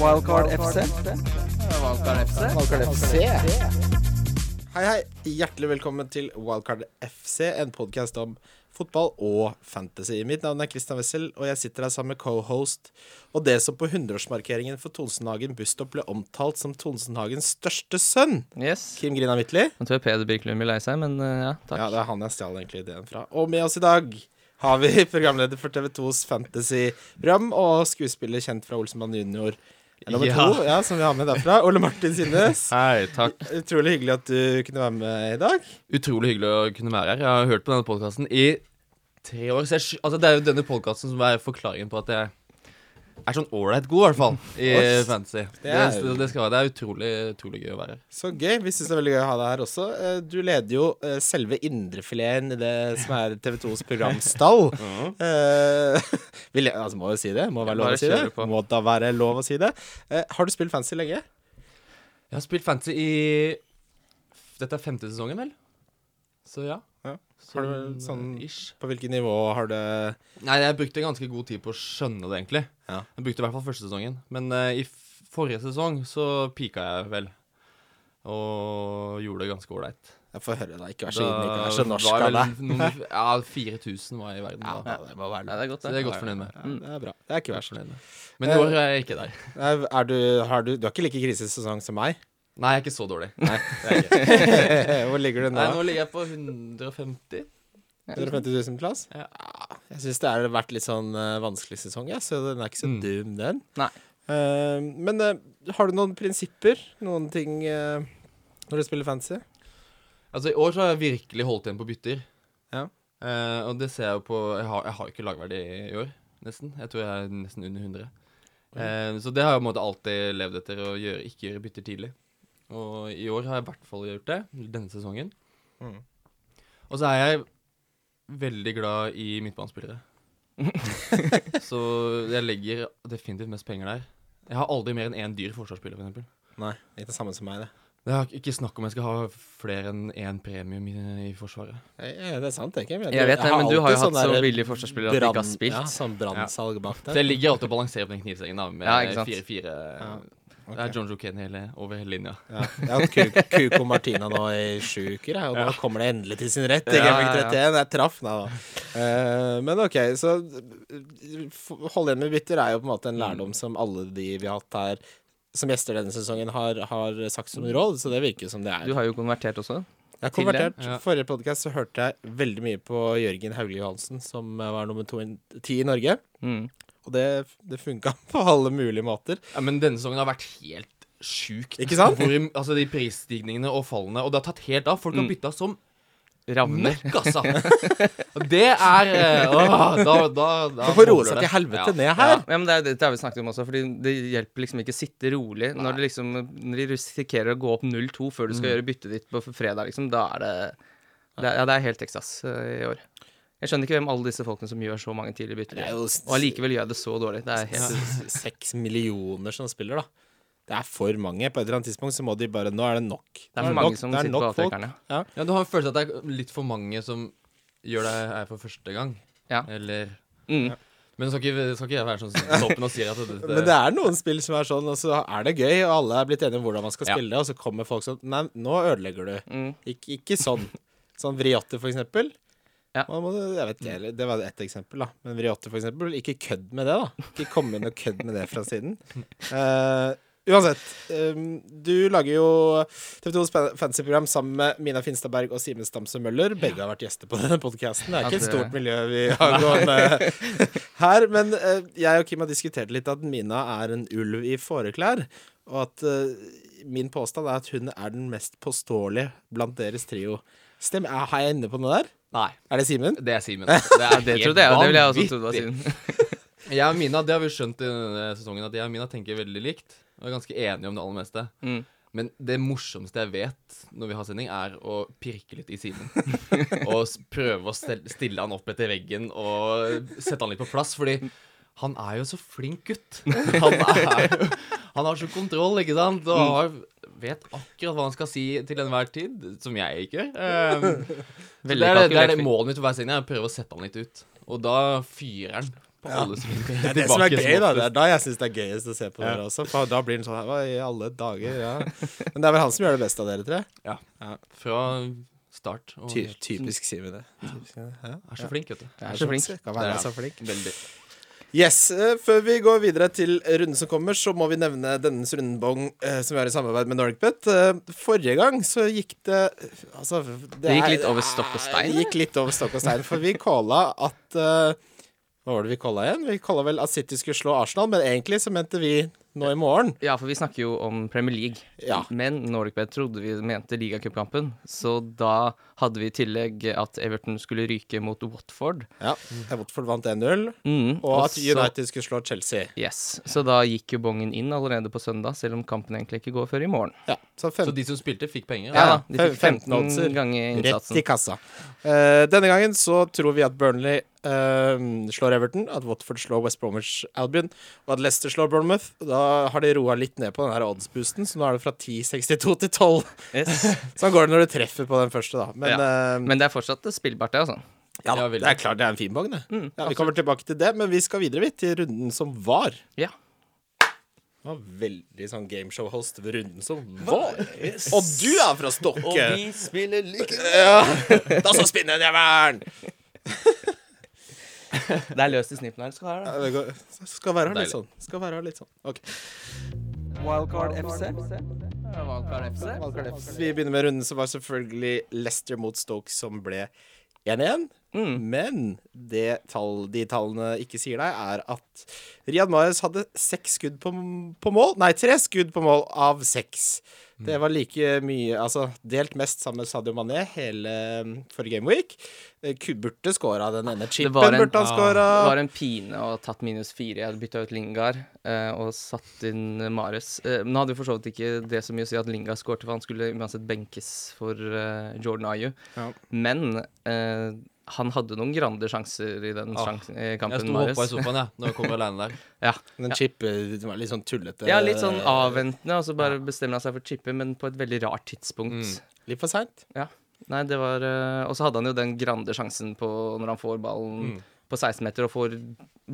Wildcard FC. Valgkar FC. Wildcard FC. Hei, hei. Hjertelig velkommen til Wildcard FC, en podkast om fotball og fantasy. Mitt navn er Christian Wessel, og jeg sitter her sammen med co-host og det som på 100-årsmarkeringen for Tonsenhagen Bustop ble omtalt som Tonsenhagens største sønn, Yes. Kim Grina Mittli. Nå tror jeg Peder Birkelund blir lei seg, men eh, ja, takk. Ja, det er han jeg stjal egentlig ideen fra. Og med oss i dag har vi programleder for TV2s fantasyprogram og skuespiller kjent fra Olsenmann junior. Nummer Ja. to, ja, som vi har med derfra. Ole Martin Sinnes. Hei, takk. Utrolig hyggelig at du kunne være med i dag. Utrolig hyggelig å kunne være her. Jeg har hørt på denne podkasten i tre år. Så jeg, skj- altså, det er jo denne podkasten som er forklaringen på at jeg er sånn ålreit god, i hvert fall, i Oi, fantasy. Det, er- det, det skal være. Det er utrolig, utrolig gøy å være her. Så gøy. Vi syns det er veldig gøy å ha deg her også. Eh, Du leder jo eh, selve indrefileten i det som er TV2s programstall. Eh, vi le altså, må jo si det. Må være lov Bare å si det. kjører på. Må da være lov å si det. Eh, har du spilt fancy lenge? Jeg har spilt fantasy i Dette er femte sesongen, vel? Så ja. Ja. Har du sånn- eh, ish. På hvilket nivå har det Nei, jeg brukte ganske god tid på å skjønne det, egentlig. Ja. Jeg brukte i hvert fall første sesongen. Men eh, i f- forrige sesong så pika jeg vel. Og gjorde det ganske ålreit. Jeg får høre, da. Ikke vær så Da ydmyk. Vær så norsk var av vel deg. noen- Ja, 4000 var jeg i verden da. Ja, det må være Ja, lov. det er godt, Så det. det er jeg godt fornøyd med. Ja, det er bra. Det er ikke verst. Fornøyd med. Men i år er jeg ikke der. Er, er du, har du, du har ikke like krisesesong som meg? Nei, jeg er ikke så dårlig. Hvor ligger du nå? Nei, nå ligger jeg på 150. 150 000 plass? Ja. Jeg syns det har vært litt sånn eh, vanskelig sesong, jeg, så den er ikke så Mm. dum, den. Nei. Eh, men eh, har du noen prinsipper? Noen ting eh, når du spiller fancy? Altså, i år så har jeg virkelig holdt igjen på bytter. Ja. Eh, og det ser jeg jo på Jeg har jeg har jo ikke lagverdi i år, nesten. Jeg tror jeg er nesten under 100. Eh, så det har jeg på en måte alltid levd etter, å gjøre, ikke gjøre bytter tidlig. Og i år har jeg i hvert fall gjort det. Denne sesongen. Mm. Og så er jeg veldig glad i midtbanespillere. så jeg legger definitivt mest penger der. Jeg har aldri mer enn én dyr forsvarsspiller, f.eks. Nei, ikke det samme som meg, det. Det er ikke snakk om jeg skal ha flere enn én premium i, i Forsvaret. Eh, det er sant, det. Kim. Jeg vet det, men du har alltid jo hatt sånn så der billige forsvarsspillere at du ikke har brann- spilt. Ja, sånn brannsalg bak Så der. jeg ligger alltid og balanserer på den knivsengen da med Ja, ikke sant. 4-4. Det er Ok. John Joe Kenny hele, over hele linja. Ja. Jeg har hatt Ku- Kuko Martina nå i sju uker, jeg, og nå kommer det endelig til sin rett. I Ja, Game Week ja, ja. 31, jeg traff den, da. Eh, men OK, så eh, f- Hold igjen med bytter er jo på en måte en Mm. lærdom som alle de vi har hatt her som gjester denne sesongen, har, har sagt som råd, så det virker som det er. Du har jo konvertert også. Jeg har til det, konvertert. ja. Forrige podkast så hørte jeg veldig mye på Jørgen Hauglie Johansen, som eh, var nummer to i, ti i Norge. Mm. Og det, det funka på alle mulige måter. Ja, men denne sesongen har vært helt sjukt. Ikke sant? Hvor, altså De prisstigningene og fallene. Og det har tatt helt av. Folk har bytta som Ravner. møkk, altså. Og det er eh, åh, Da, da, da Man får roe holder seg det. til helvete Ja. ned her. Ja, men det er jo det, det har vi snakket om også, fordi det hjelper liksom ikke å sitte rolig når, det liksom, når de risikerer å gå opp 0-2 før du Mm. skal gjøre byttet ditt på fredag, liksom. Da er det, det er- Ja, det er helt Texas eh, i år. Jeg skjønner ikke hvem alle disse folkene som gjør så mange tidlige bytter, Det er gjør. jo og allikevel gjør jeg det så dårlig. Det er helt seks millioner som spiller, da. Det er for mange. På et eller annet tidspunkt så må de bare Nå er det nok. Det er Nå for mange nok- som det er sitter nok på folk. avtrekkerne. Ja, Du har en følelse av at det er litt for mange som gjør det her for første gang. Ja. Eller Mm. Men skal ikke, skal ikke jeg være sånn som toppen og sier at det, Men det er noen spill som er sånn, og så er det gøy, og alle er blitt enige om hvordan man skal Ja. spille, og så kommer folk sånn Nei, nå ødelegger du. Mm. Ikke, ikke sånn. Sånn Vriotte, for eksempel. Ja. Man må, jeg vet ikke, eller- det var ett eksempel, da. Men Vriotte, for eksempel. Ikke kødd med det, da. Ikke kom inn og kødd med det fra siden. Eh, uansett. ehm, du lager jo TV2s fan- fantasyprogram sammen med Mina Finstadberg og Simen Stamse Møller. Begge har vært gjester på denne podkasten. Det er Ja, ikke et det- stort miljø vi har gående her. Men eh, jeg og Kim har diskutert litt at Mina er en ulv i fåreklær. Og at eh, min påstand er at hun er den mest påståelige blant deres trio. Stem, er, har jeg inne på noe der? Nei. Er det Simen? Det er Simen. Det er Det helt trodde jeg, og det ville jeg også vanvittig. trodd var siden. Jeg og Mina, det har vi skjønt i denne sesongen, at jeg og Mina tenker veldig likt. Og er ganske enige om det aller meste. Mm. Men det morsomste jeg vet når vi har sending, er å pirke litt i Simen. og s- prøve å stel- stille han opp etter veggen og sette han litt på plass. Fordi han er jo så flink gutt. Han, er jo, han har så kontroll, ikke sant? Og har, vet akkurat hva han skal si til enhver tid, som jeg ikke gjør. Um, så det, er, det, Veldig det er kalkulert. det målet mitt for hver sending, er å prøve å sette han litt ut. Og da fyrer han på alle som ikke Det er det som er gøy, da. Det er da jeg syns det er gøyest å se på dere også. For da blir den sånn her Hva i alle dager? Ja. Men det er vel han som gjør det best av dere tre? Fra start. Og Ty er typisk Simen, det. Typisk Simen, ja. så flink, vet du. Jeg er så flink. Skal være Ja. så flink. Veldig. Yes, eh, Før vi går videre til runden som kommer, så må vi nevne dennes rundebong eh, som vi har i samarbeid med NordicBet. Eh, forrige gang så gikk det Altså Det, gikk er- litt over stokk og stein, Det gikk litt over stokk og stein, for vi calla at eh, Hva var det vi calla igjen? Vi calla vel at City skulle slå Arsenal, men egentlig så mente vi nå i morgen. Ja, for vi snakker jo om Premier League. Ja. Men Norwegbet trodde vi mente ligacupkampen, så da hadde vi i tillegg at Everton skulle ryke mot Watford. Ja, Watford vant 1-0, Mm, og at så- United skulle slå Chelsea. Yes, Så da gikk jo bongen inn allerede på søndag, selv om kampen egentlig ikke går før i morgen. Ja, så Så fem, de som spilte, fikk penger? Ja, Ja, da, de fem- fikk 15 15 oddser. ganger Rett i innsatsen. kassa. Eh, denne gangen så tror vi at Burnley eh, slår Everton, at Watford slår West Bromwich Albion, og at Leicester slår Bournemouth. Da har de roa litt ned på den her oddsboosten, så nå er det fra 10,62 til 12. Yes. Sånn går det når du treffer på den første, da. Men, eh, Men det er fortsatt spillbart, det, altså. ja, da, Ja, veldig. det er klart det er en fin bong, det. ja, vi kommer tilbake til det, men vi skal videre vi, til runden som var. Ja. Det var veldig sånn gameshow-host ved runden som var. Og du er fra Stokke! spiller like Ja. Da så spinner jævelen! Det er løst i snippen her. Skal Ja, det går- Skal være her litt Deilig. sånn. Skal være her litt sånn. Ok. Wildcard FC. Vi begynner med runden som var selvfølgelig Leicester mot Stoke som ble 1-1. Mm. Men det tall, de tallene ikke sier deg, er at Riyad Mahrez hadde seks skudd på, på mål. Nei, tre skudd på mål av seks. Mm. Det var like mye Altså delt mest sammen med Sadio Mané hele um, forrige gameweek. Eh, Ku- Burde skåra den ene chipen. var en- Burde han ah, skåra. Det var en pine å ha tatt minus fire. Jeg hadde bytta ut Lingard eh, og satt inn Mares. Eh, men hadde jo for så vidt ikke det så mye å si at Lingard skårte, for han skulle uansett benkes for eh, Jordan Ayu. Ja. Men eh, han hadde noen grande sjanser i den Ah, sjans- eh, Jeg kampen, sto og hoppa i Mares. sofaen, jeg, når jeg kommer alene der. Ja. Den chip eh, det var litt sånn tullete. ja, litt sånn eh, avventende, og så bare bestemmer han seg for chippet, men på et veldig rart tidspunkt. Mm. Litt for seint. Ja. Nei, det var eh, Og så hadde han jo den grande sjansen på når han får ballen på 16 meter og får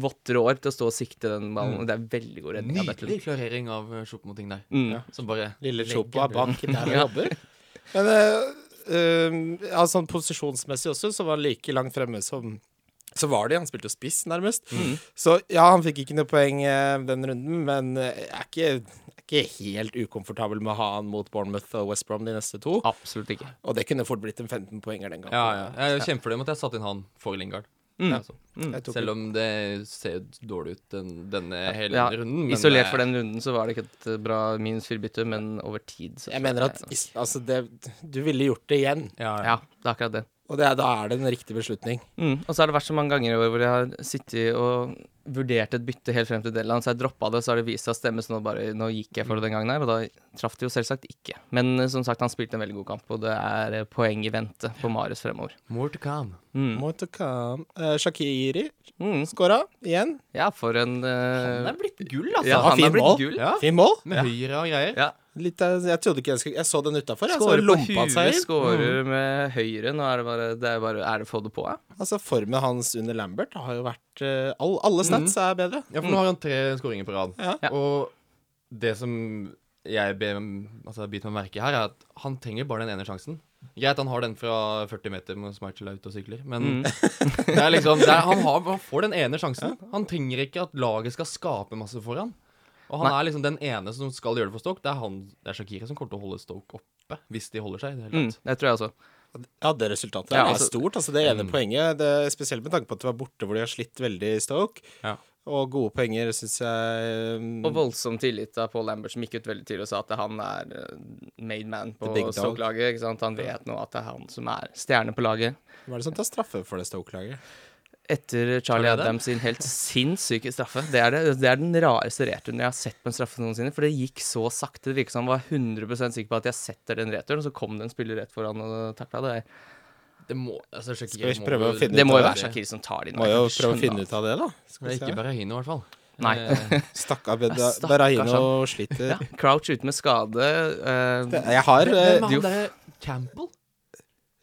votter og orb til å stå og sikte den ballen. Det er veldig god redning. av Nydelig Butler. klarering av eh, Choupo-moting der. Mm. Ja. Som bare Lille legger Chopo er den. bak der og jobber. Men eh, eh, ja, sånn posisjonsmessig også, så var han like langt fremme som så var de, Han spilte jo spiss, nærmest. Så ja, han fikk ikke noe poeng eh, den runden, men eh, jeg er ikke, jeg er ikke helt ukomfortabel med å ha han mot Bournemouth og West Brom de neste to. Absolutt ikke. Og det kunne fort blitt en 15-poenger den gangen. Ja, ja. Jeg er kjempefornøyd med at jeg satte inn han for Lingard. Altså. Jeg Mm. tok Selv om det ser dårlig ut den, denne hele Ja, runden. eh, Isolert for den runden så var det ikke et eh, bra minus fire-bytte, men over tid så Jeg mener at is- altså, det, du ville gjort det igjen, Ja, ja. Ja, det er akkurat det. og det, er- da er det en riktig beslutning. Mm. Og så har det vært så mange ganger i år hvor jeg har sittet og vurdert et bytte helt frem til Deadland, så jeg droppa det, så har det vist seg å stemme, så nå, bare, nå gikk jeg for det den gangen her, og da traff det jo selvsagt ikke. Men eh, som sagt, han spilte en veldig god kamp, og det er eh, poeng i vente på Marius fremover. More to come. Mm. Motokam Eh, Shakiri Mm. skåra igjen. Ja, for en eh, Den er blitt gull, altså. Ja, Ah, han fin er blitt mål. gull. Ja. Fin mål. Med høyre og greier. Ja. Litt, av- jeg trodde ikke jeg skulle Jeg så den utafor. Jeg så Skårer på lompa han seg huet, inn. skårer med høyre. Nå er det bare det er bare, Er det få det på, ja? Altså Formen hans under Lambert har jo vært eh, all, Alle stats er bedre. Ja, for nå har han tre skåringer på rad. Ja. Mm. Ja. Og det som jeg be, altså, biter meg merke i her, er at han trenger bare den ene sjansen. Greit, han har den fra 40 meter med Schmeichel er ute og sykler, Mm. men det er liksom, det er, han, har, han får den ene sjansen. Han trenger ikke at laget skal skape masse for han. Og han Nei. er liksom den ene som skal gjøre det for Stoke. Det er, han, det er Shakira som kommer til å holde Stoke oppe, hvis de holder seg. i Det hele Mm, tatt. det tror jeg også. Ja, det resultatet Ja, er altså- stort. Altså Det ene poenget, det, spesielt med tanke på at det var borte hvor de har slitt veldig i Stoke. Ja. Og gode poenger, syns jeg. mm, Og voldsom tillit av Paul Lambert, som gikk ut veldig tidlig og sa at han er eh, made man på The big dog. Stoke-laget. ikke sant? Han vet nå at det er han som er stjerne på laget. Hva er det som tar straffe for det Stoke-laget? Etter Charlie Har du det? Adams sin helt sinnssyke straffe. Det er, det, det er den rareste returen jeg har sett på en straffe noensinne. For det gikk så sakte. Det virket som han var 100 sikker på at jeg setter den returen, og så kom det en spiller rett foran og takla det. Det må, altså, Shakira Skal vi må prøve jo- å finne Det ut må av jo det. være Shakir som tar de nå. Må jo prøve å Jeg kan ikke skjønne finne ut av det, da. Det Skal vi er ikke se. Berahino, i hvert fall. Nei. Eh, Stakkar Beda- Stakkars Berahino sliter. Ja, Crouch ute med skade. eh, Jeg har Hvem eh, er jo- han derre Campbell?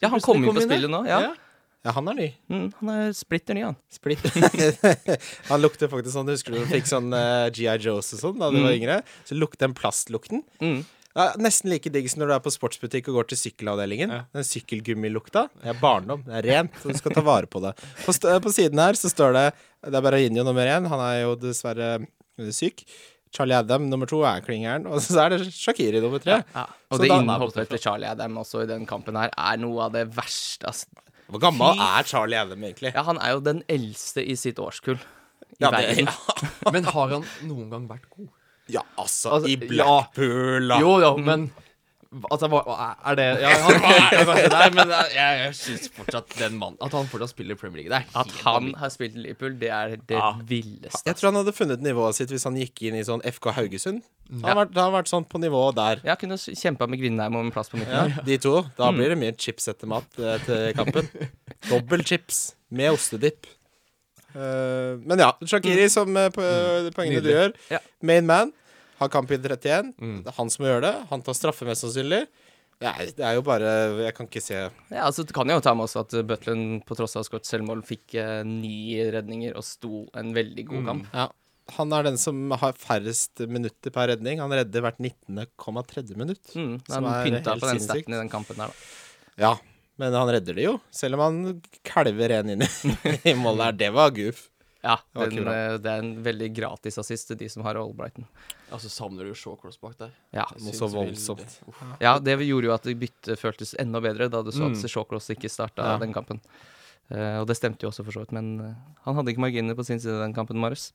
ja, han Plutselig kom inn på inn der. spillet nå. Ja. Ja, han er ny. Mm, han er splitter ny, han. Splitt. han lukter faktisk sånn Husker du du fikk sånn eh, GI Joes og sånn da du var yngre? Så lukter den plastlukten. Mm. Ja, nesten like digg som når du er på sportsbutikk og går til sykkelavdelingen. Den sykkelgummilukta. Det er barndom. Det er rent, så du skal ta vare på det. På, st eh, på siden her så står det Det er Berahino nummer én. Han er jo dessverre eh, syk. Charlie Adam nummer to er klingeren. Og så er det Shakiri nummer tre. Og Så det da- innhoppet til Charlie Adam også i den kampen her er noe av det verste. ass. Hvor gammel er Charlie Adam egentlig? Ja, han er jo den eldste i sitt årskull i Ja, det- verden. Men har han noen gang vært god? Ja, altså, Altså, I ja. Blackpool, da. Jo, jo, men Altså, hva hva er det Ja, han er kanskje der, men eh, jeg, jeg syns fortsatt den mannen At han fortsatt spiller i Premier League, det er helt At han har spilt i Liverpool, det er det Ja. villeste. Jeg tror han hadde funnet nivået sitt hvis han gikk inn i sånn FK Haugesund. Han har vært, han har vært sånn på nivået der. Jeg kunne kjempa med Grindheim om en plass på midten. Ja, her. de to. Da blir det mye chips etter mat eh, til kampen. Dobbel chips med ostedipp. Eh, men ja, Shakiri, som eh, på, poengene du gjør. Ja. Main man. Har kamp i 31. Det er han som må gjøre det. Han tar straffe, mest sannsynlig. Det er, det er jo bare Jeg kan ikke se Ja, altså Det kan jo ta med også at Butlen på tross av å ha skåret selvmål fikk eh, ni redninger og sto en veldig Mm. god kamp. Ja. Han er den som har færrest minutter per redning. Han redder hvert 19,3 minutt. Mm, Som han er pynta helt på den sinnssykt. staten i den kampen der, da. Ja, men han redder det jo. Selv om han kalver en inn i i målet her. Det var goof. Ja, var den, ikke bra. eh, det er en veldig gratis assist til de som har Albrighton. Altså, savner du Shaw Cross bak der? Ja. Jeg Noe syns så vel det- voldsomt. Uff. ja, det gjorde jo at byttet føltes enda bedre, da du så at Mm. Shawcross ikke starta den kampen. Eh, og det stemte jo også, for så vidt, men eh, han hadde ikke marginer på sin side den kampen, Marius.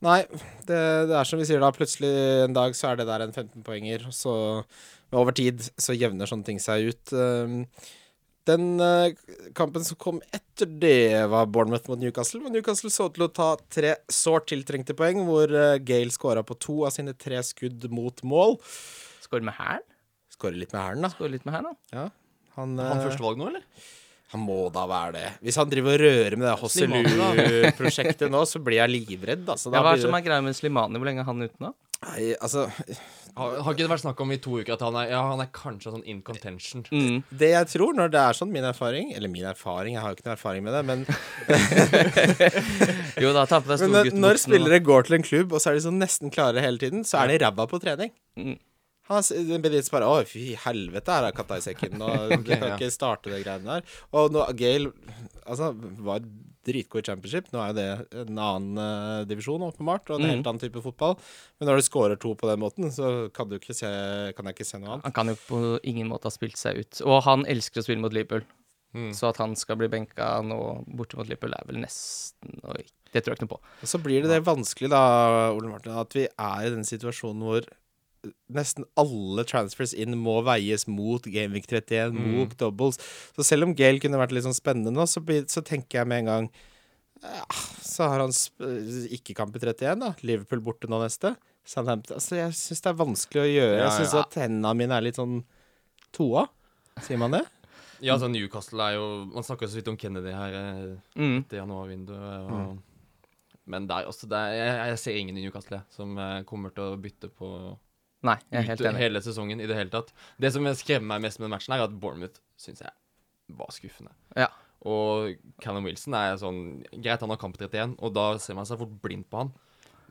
Nei, det, det er som vi sier da, plutselig en dag så er det der en 15-poenger, og så men over tid så jevner sånne ting seg ut. Um, Den eh, kampen som kom etter det, var Bournemouth mot Newcastle. Men Newcastle så ut til å ta tre sårt tiltrengte poeng, hvor eh, Gale skåra på to av sine tre skudd mot mål. Skårer med hælen? Skårer litt med hælen, da. Skårer litt med hælen, da. Ja. Han, Er Han eh, førstevalg nå, eller? Han må da være det. Hvis han driver og rører med det Hosselu-prosjektet nå, så blir jeg livredd. Altså, da Ja, hva er det blir som det... er greia med Slimani? Hvor lenge er han ute nå? Nei, altså, Har, har ikke det vært snakk om i to uker at han er, ja, han er kanskje sånn in contention? Mm. det jeg tror, når det er sånn, min erfaring Eller min erfaring, jeg har jo ikke noe erfaring med det, men, Jo da, ta på deg men eh, når, storguttbuksene. når da. spillere går til en klubb, og så er de så nesten klare hele tiden, så er de ræva på trening. Mm. Han har s- Benitez bare Å, fy helvete, her er katta i sekken. Og vi kan ja. ikke starte de greiene der. Og nå, Gale altså, var dritgod i championship. Nå er jo det en annen eh, divisjon, åpenbart, og en helt annen type fotball. Men når du scorer to på den måten, så kan, du ikke se, kan jeg ikke se noe annet. Han kan jo på ingen måte ha spilt seg ut. Og han elsker å spille mot Liverpool. Mm. Så at han skal bli benka nå borte mot Liverpool, er vel nesten oi, Det tror jeg ikke noe på. Og så blir det det vanskelig, da, Ole Martin, at vi er i den situasjonen hvor eh, nesten alle transfers inn må veies mot Gameweek 31, Mm. mot doubles. Så selv om Gale kunne vært litt sånn spennende nå, så, blir- så tenker jeg med en gang eh, Så har han sp- eh, ikke kamp i 31, da. Liverpool borte nå neste. Southampton Altså, jeg syns det er vanskelig å gjøre. Ja, Jeg syns ja. at hendene mine er litt sånn toa. Sier man det? Ja, altså, Newcastle er jo Man snakker jo så vidt om Kennedy her eh, Mm. til januarvinduet. eh, Og, Men der også det er, jeg, jeg ser ingen i Newcastle jeg, som eh, kommer til å bytte på Nei, jeg er helt ut enig. hele sesongen i det hele tatt. Det som skremmer meg mest med den matchen, her, er at Bournemouth syns jeg var skuffende. Ja. Og Callum Wilson er sånn Greit, han har kamp 31, og da ser man seg fort blind på han.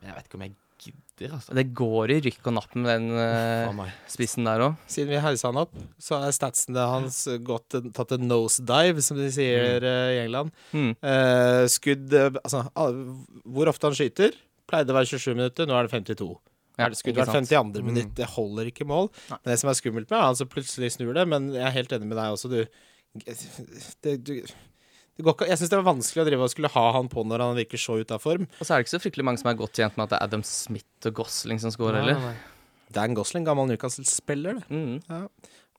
Men jeg vet ikke om jeg gidder, altså. Det går i rykk og napp med den eh, Faen meg. spissen der òg. Siden vi hausa han opp, så er statsene hans gått, tatt en nosedive, som de sier eh, i England. Mm. Eh, skudd eh, Altså, al- hvor ofte han skyter? Pleide å være 27 minutter, nå er det 52. Ja, er det skudd ikke hvert sant. Mm. 52. minutt? Det holder ikke mål. Men det som er skummelt med, er at han som plutselig snur det, men jeg er helt enig med deg også, du. Det, du det går ikke, jeg syns det var vanskelig å drive og skulle ha han på når han virker så ute av form. Og så er det ikke så fryktelig mange som er godt tjent med at det er Adam Smith og Gosling som scorer, heller. Dan Gosling, gammel Newcastle-spiller, det. Mm.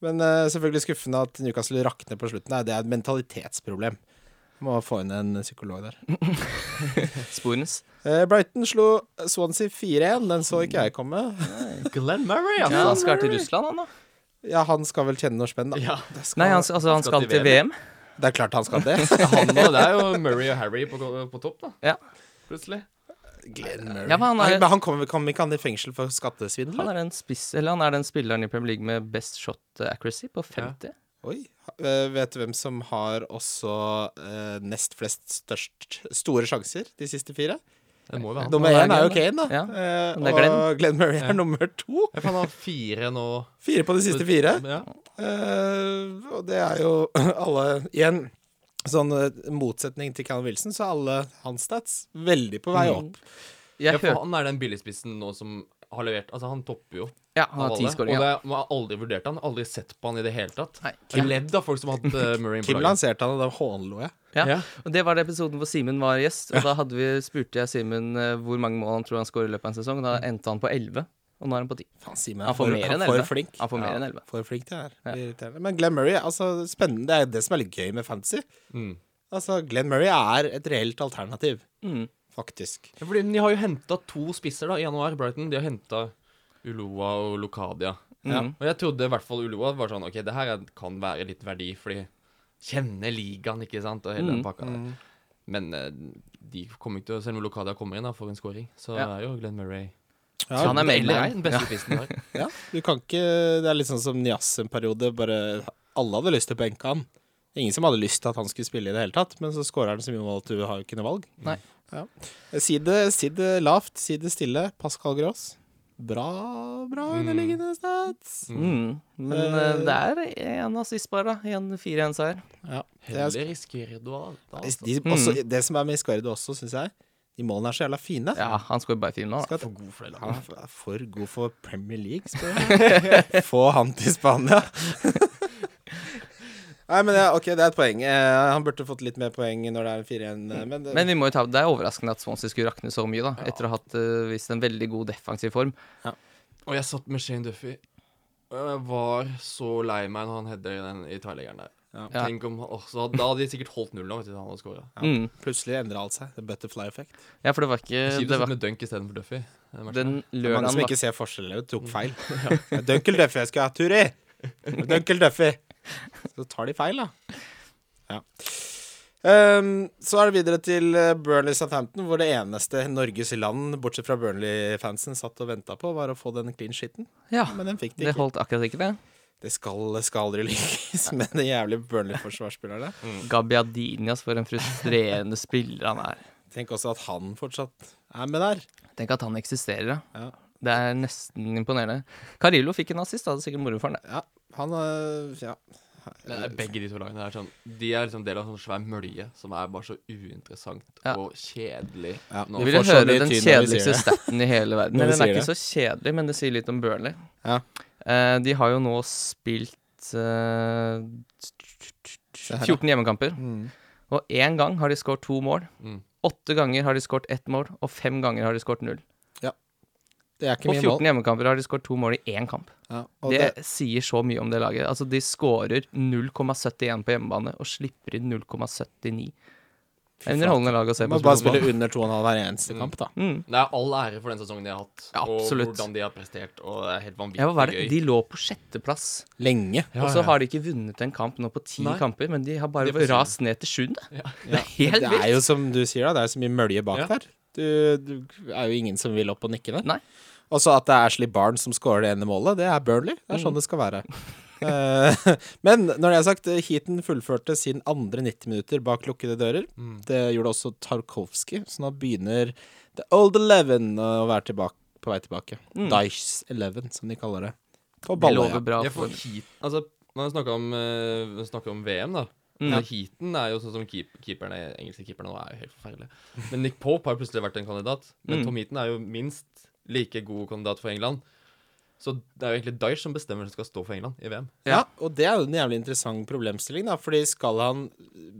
Men eh, selvfølgelig skuffende at Newcastle rakner på slutten. Nei, det er et mentalitetsproblem. Må få inn en psykolog der. Sporens. Eh, Brighton slo Swansea 4-1. Den så ikke jeg komme. Glenn Murray, Ja, altså. han skal til Russland, han da? Ja, han skal vel tjene noe spenn, da. Ja. Det, skal, Nei, han, altså, han skal til VM. det er klart han skal det. Han og det er jo Murray og Harry på, på topp, da. Ja. Plutselig. Glenn Murray. Ja, men han er- Nei, men han kommer kom ikke han i fengsel for skattesvindel? Han da? er, den spiss, eller han er den spilleren i Premier League med best shot eh, accuracy på 50. Oi. Eh, Vet du hvem som har også eh, nest flest størst store sjanser de siste fire? Det må jo være han. Nummer er én er jo Glenn, Kane, da. Ja. Eh, Men det er og Glenn Murray er nummer to. Jeg fant han fire nå. Fire på de siste fire. Ja. Eh, og det er jo alle Igjen, sånn eh, motsetning til Callum Wilson, så er alle hans stats veldig på vei Mm. opp. Jeg Ja, for hørte han er den billigspissen nå som har levert Altså, han topper jo. Ja, han av har alle, ti Og skåringer. det, er- man har aldri vurdert han, aldri sett på han i det hele tatt. Nei. Kim Levd av folk som har hatt uh, Murray på Kim laget. lanserte han, og da hånlo jeg. Ja. Ja. Og det var den episoden hvor Simen var gjest. Og da hadde vi, spurte jeg Simen eh, hvor mange mål han tror han skårer i løpet av en sesong. Og da endte han på 11, og nå er han på 10. Faen, si meg, Han får for- mer enn han for 11. flink. Han får mer enn 11. For flink det er. Det blir irriterende. Men Glenn Murray, altså spennende. Det er det som er litt gøy med fantasy. Mm. Altså, Glenn Murray er et reelt alternativ, Mm. faktisk. Ja, fordi De har jo henta to spisser da i januar, Brighton. De har henta Uloa og Lokadia. Ja. Og jeg trodde i hvert fall Uloa var sånn OK, det her er- kan være litt verdi, fordi Kjenner ligaen, ikke sant, og hele den Mm. pakka der. Men eh, de kommer ikke til å Selv om Lokadia kommer inn da for en scoring, så Ja. er jo Glenn Murray Ja, Han er med i Eller er leiren. den beste spissen de har. ja, du kan ikke Det er litt sånn som Nias en periode. Bare alle hadde lyst til å benke han. Ingen som hadde lyst til at han skulle spille i det hele tatt, men så skårer han så mye mål at du har jo ikke noe valg. Nei. Ja. Si det, si det lavt, si det stille. Pascal Gross. Bra, bra underliggende stats. Mm. Men eh, det er en assist bare, da. En 4-1-seier. Ja. Mm. Det, er, Heller riskerer du alt, da. de, Altså. også, det som er med Iscardo også, syns jeg, de målene er så jævla fine. Ja, han skårer bare 4 nå, da. Skal- For god for det laget. Han er for god for Premier League, spør jeg. Få han til Spania. Nei, men ja, ok, det er et poeng. Eh, han burde fått litt mer poeng når det er 4-1, eh, men, det- Men vi må jo ta, det er overraskende at Swansea skulle rakne så mye, da. Etter å ha hatt eh, vist en veldig god defensiv form. Og jeg satt med Shane Duffy. Og jeg var så lei meg når han header i den i tverrleggeren der. Ja. Tenk om, åh, så da hadde de sikkert holdt null nå, vet du, da han hadde scora. Mm. plutselig endrer alt seg. The butterfly effect. Ja, for det var ikke Kjipt å Eh, det sitte var, med dunk istedenfor Duffy. i den matchen Den Det er mange lørdagen som var ikke ser forskjellen, og tok feil. Dunkel Duffy jeg skal ha, Turi! Dunkel Duffy. Så tar de feil, da. Ja. Ehm, så er det videre til eh, Burnley Southampton, hvor det eneste Norges land, bortsett fra Burnley-fansen, satt og venta på, var å få den clean shiten. Ja, Men den fikk de det ikke. holdt akkurat ikke, det. Det skal, skal aldri lykkes med de jævlige Burnley-forsvarsspillerne. Gabiadinias, for en frustrerende spiller han er. Tenk også at han fortsatt er med der. Tenk at han eksisterer, da. Ja. Det er nesten imponerende. Carillo fikk en assist, da hadde sikkert moro for han. det. Ja, han øh, ja. her. Men det er begge de to lagene er sånn De er liksom del av en sånn svær mølje som er bare så uinteressant Ja. og kjedelig. Ja. Nå. Vi Vi får vil så høre mye tyn den når vi sier kjedeligste det. staten i hele verden. Når Nei, vi den er sier ikke så kjedelig, men det sier litt om Burnley. Ja. Eh, de har jo nå spilt eh, 14 hjemmekamper, Mm. og én gang har de skåret to mål. Mm. Åtte ganger har de skåret ett mål, og fem ganger har de skåret null. Det er ikke På mye 14 mål. hjemmekamper har de skåret to mål i én kamp. Ja, og det, det, sier så mye om det laget. Altså, de skårer 0,71 på hjemmebane og slipper inn 0,79. Det er underholdende lag å se må på. bare spille spille under 2,5 hver eneste kamp, da. fotball. mm. Det er all ære for den sesongen de har hatt, Ja, absolutt. og hvordan de har prestert. Og det er helt vanvittig ja, hva var det? gøy. De lå på sjetteplass, Lenge. Ja, og ja. så har de ikke vunnet en kamp nå på ti Nei. kamper, men de har bare Det er for synd. rast ned til sjuende. Ja. Det er helt Det er vilt. jo som du sier, da. Det er så mye mølje bak Ja. der. Du, du er jo ingen som vil opp og nikke der. Nei. Og så at det er Ashley Barnes som scorer det ene målet, det er Burnley. Det Mm. er sånn det skal være. Eh, Men når det er sagt, eh, Heaton fullførte sin andre 90 minutter bak lukkede dører. Mm. Det gjorde også Tarkovskij, så nå begynner The Old Eleven å være tilbake, på vei tilbake. Mm. Dice Eleven, som de kaller det. På Det Balløya. lover bra Jeg får for heat Altså, man snakker om, eh, snakker om VM, da. Mm. Men Heaten er jo sånn som keep, keeperne, engelske keeperne nå er jo helt forferdelig. Men Nick Pope har jo plutselig vært en kandidat. Men Mm. Tom Heaton er jo minst like god kandidat for England. Så det er jo egentlig Dyche som bestemmer hvem som skal stå for England i VM. Ja, og det er jo en jævlig interessant problemstilling, da. Fordi skal han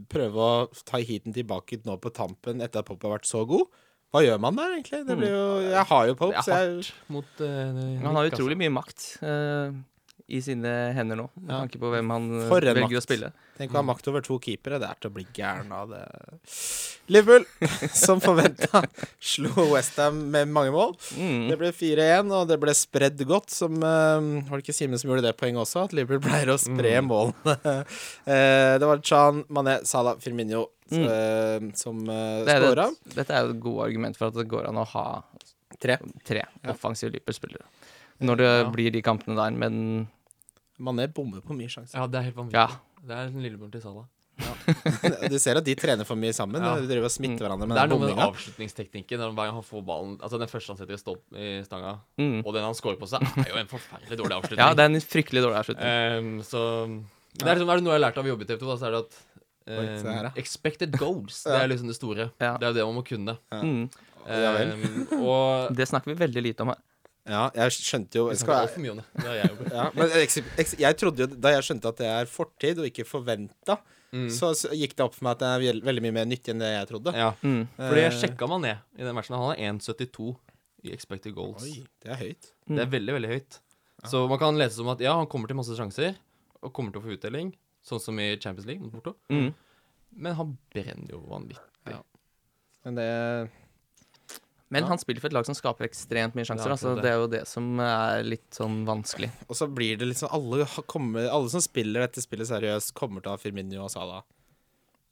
prøve å ta heaten tilbake nå på tampen etter at Pop har vært så god? Hva gjør man der, egentlig? Det blir jo Jeg har jo Mm. Det Pop, er så jeg hardt mot eh, Nick, Han har altså. utrolig mye makt eh, i sine hender nå, med Ja. tanke på hvem han eh, For en velger makt. å spille. tenker Mm. å ha makt over to keepere. Det er til å bli gæren av det. Liverpool, som forventa, slo Westham med mange mål. Mm. Det ble 4-1, og det ble spredd godt, som eh, Var det ikke Simen som gjorde det poenget også? At Liverpool pleier å spre Mm. målene. Eh, det var Chan, Mané, Salah, Firmino Mm. eh, som uh, Det er skåra. det, dette er jo et godt argument for at det går an å ha tre offensive Liverpool-spillere. Når det Ja. blir de kampene der, men Mané bommer på mye sjanser. Ja, det er helt vanvittig. Ja. Det er en lillebroren til Salah. Du ser at de trener for mye sammen. Ja. Mm. De driver og smitter hverandre med det er den noe med den bomminga. avslutningsteknikken. når Hver gang han får ballen Altså Den første han setter i, stolp- i stanga, Mm. og den han scorer på seg, er jo en forferdelig dårlig avslutning. Ja, det er en fryktelig dårlig Eh. avslutning. Ehm, så det er, liksom, er det noe jeg har lært av å jobbe i TV 2, da, så er det at Oi, se ehm, her, ja. Expected goals. Det er liksom det store. Ja. Det er jo det man må kunne. Mm. Ja vel. Ehm, og Det snakker vi veldig lite om her. Ja, jeg skjønte jo vi skal snakker jeg- altfor mye om det. Det har jeg gjort. ja, men eks- eks- jeg trodde jo Da jeg skjønte at det er fortid og ikke forventa, så, så gikk det opp for meg at det er vel- veldig mye mer nyttig enn det jeg trodde. Mm. Ja. Mm. Fordi Eh. jeg sjekka meg ned i den matchen. Han har 1,72 i expected goals. Oi, det er høyt. Det er veldig, veldig høyt. Så man kan lese som at ja, han kommer til masse sjanser, og kommer til å få utdeling, sånn som i Champions League mot Porto. Mm. Men han brenner jo vanvittig. Men det Men han spiller for et lag som skaper ekstremt mye sjanser. Ja, altså, det. det er jo det som er litt sånn vanskelig. Og så blir det liksom alle, ha- kommer, alle som spiller dette spillet seriøst, kommer til å ha Firmino og Salah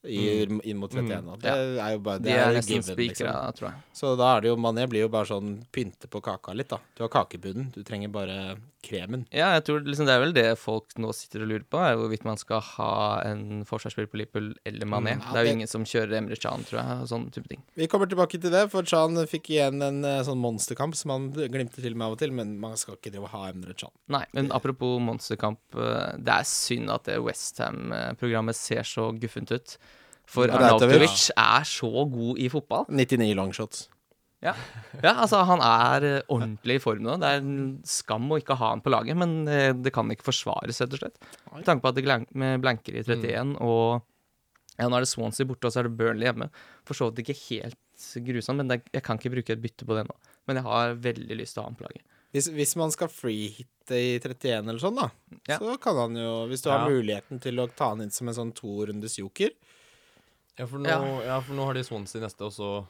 i, inn mot 31. da. Det er jo bare det Mm. De er er jo nesten given, spikra, liksom. tror jeg. Så da er det jo Mané blir jo bare sånn pynte på kaka litt, da. Du har kakebunnen, du trenger bare kremen. Ja, jeg tror liksom, Det er vel det folk nå sitter og lurer på, er jo hvorvidt man skal ha en forsvarsspiller på Liverpool eller Mané. Mm, ja, det er det- jo ingen som kjører Emre Chan, tror jeg, og sånne type ting. Vi kommer tilbake til det, for Chan fikk igjen en eh, sånn monsterkamp som han glimter til med av og til, men man skal ikke drive og ha Emre Chan. Nei, men apropos monsterkamp. eh, Det er synd at det Westham-programmet ser så guffent ut. For Ja, det er Arnautovic. Arnautovic er så god i fotball. 99 longshots. Ja. ja, altså han er eh, ordentlig i form nå. Det er en skam å ikke ha han på laget, men eh, det kan ikke forsvares, rett og slett. Med tanke på at det glan- med blanker i 31, og ja, nå er det Swansea borte, og så er det Burnley hjemme. For så vidt ikke helt grusomt, men det, er- jeg kan ikke bruke et bytte på det nå. Men jeg har veldig lyst til å ha han på laget. Hvis, hvis man skal freehitte i 31 eller sånn, da, Ja. så kan han jo Hvis du Ja. har muligheten til å ta han inn som en sånn to-rundes joker Ja for, nå, ja. Ja. for nå har de Swansea neste, og så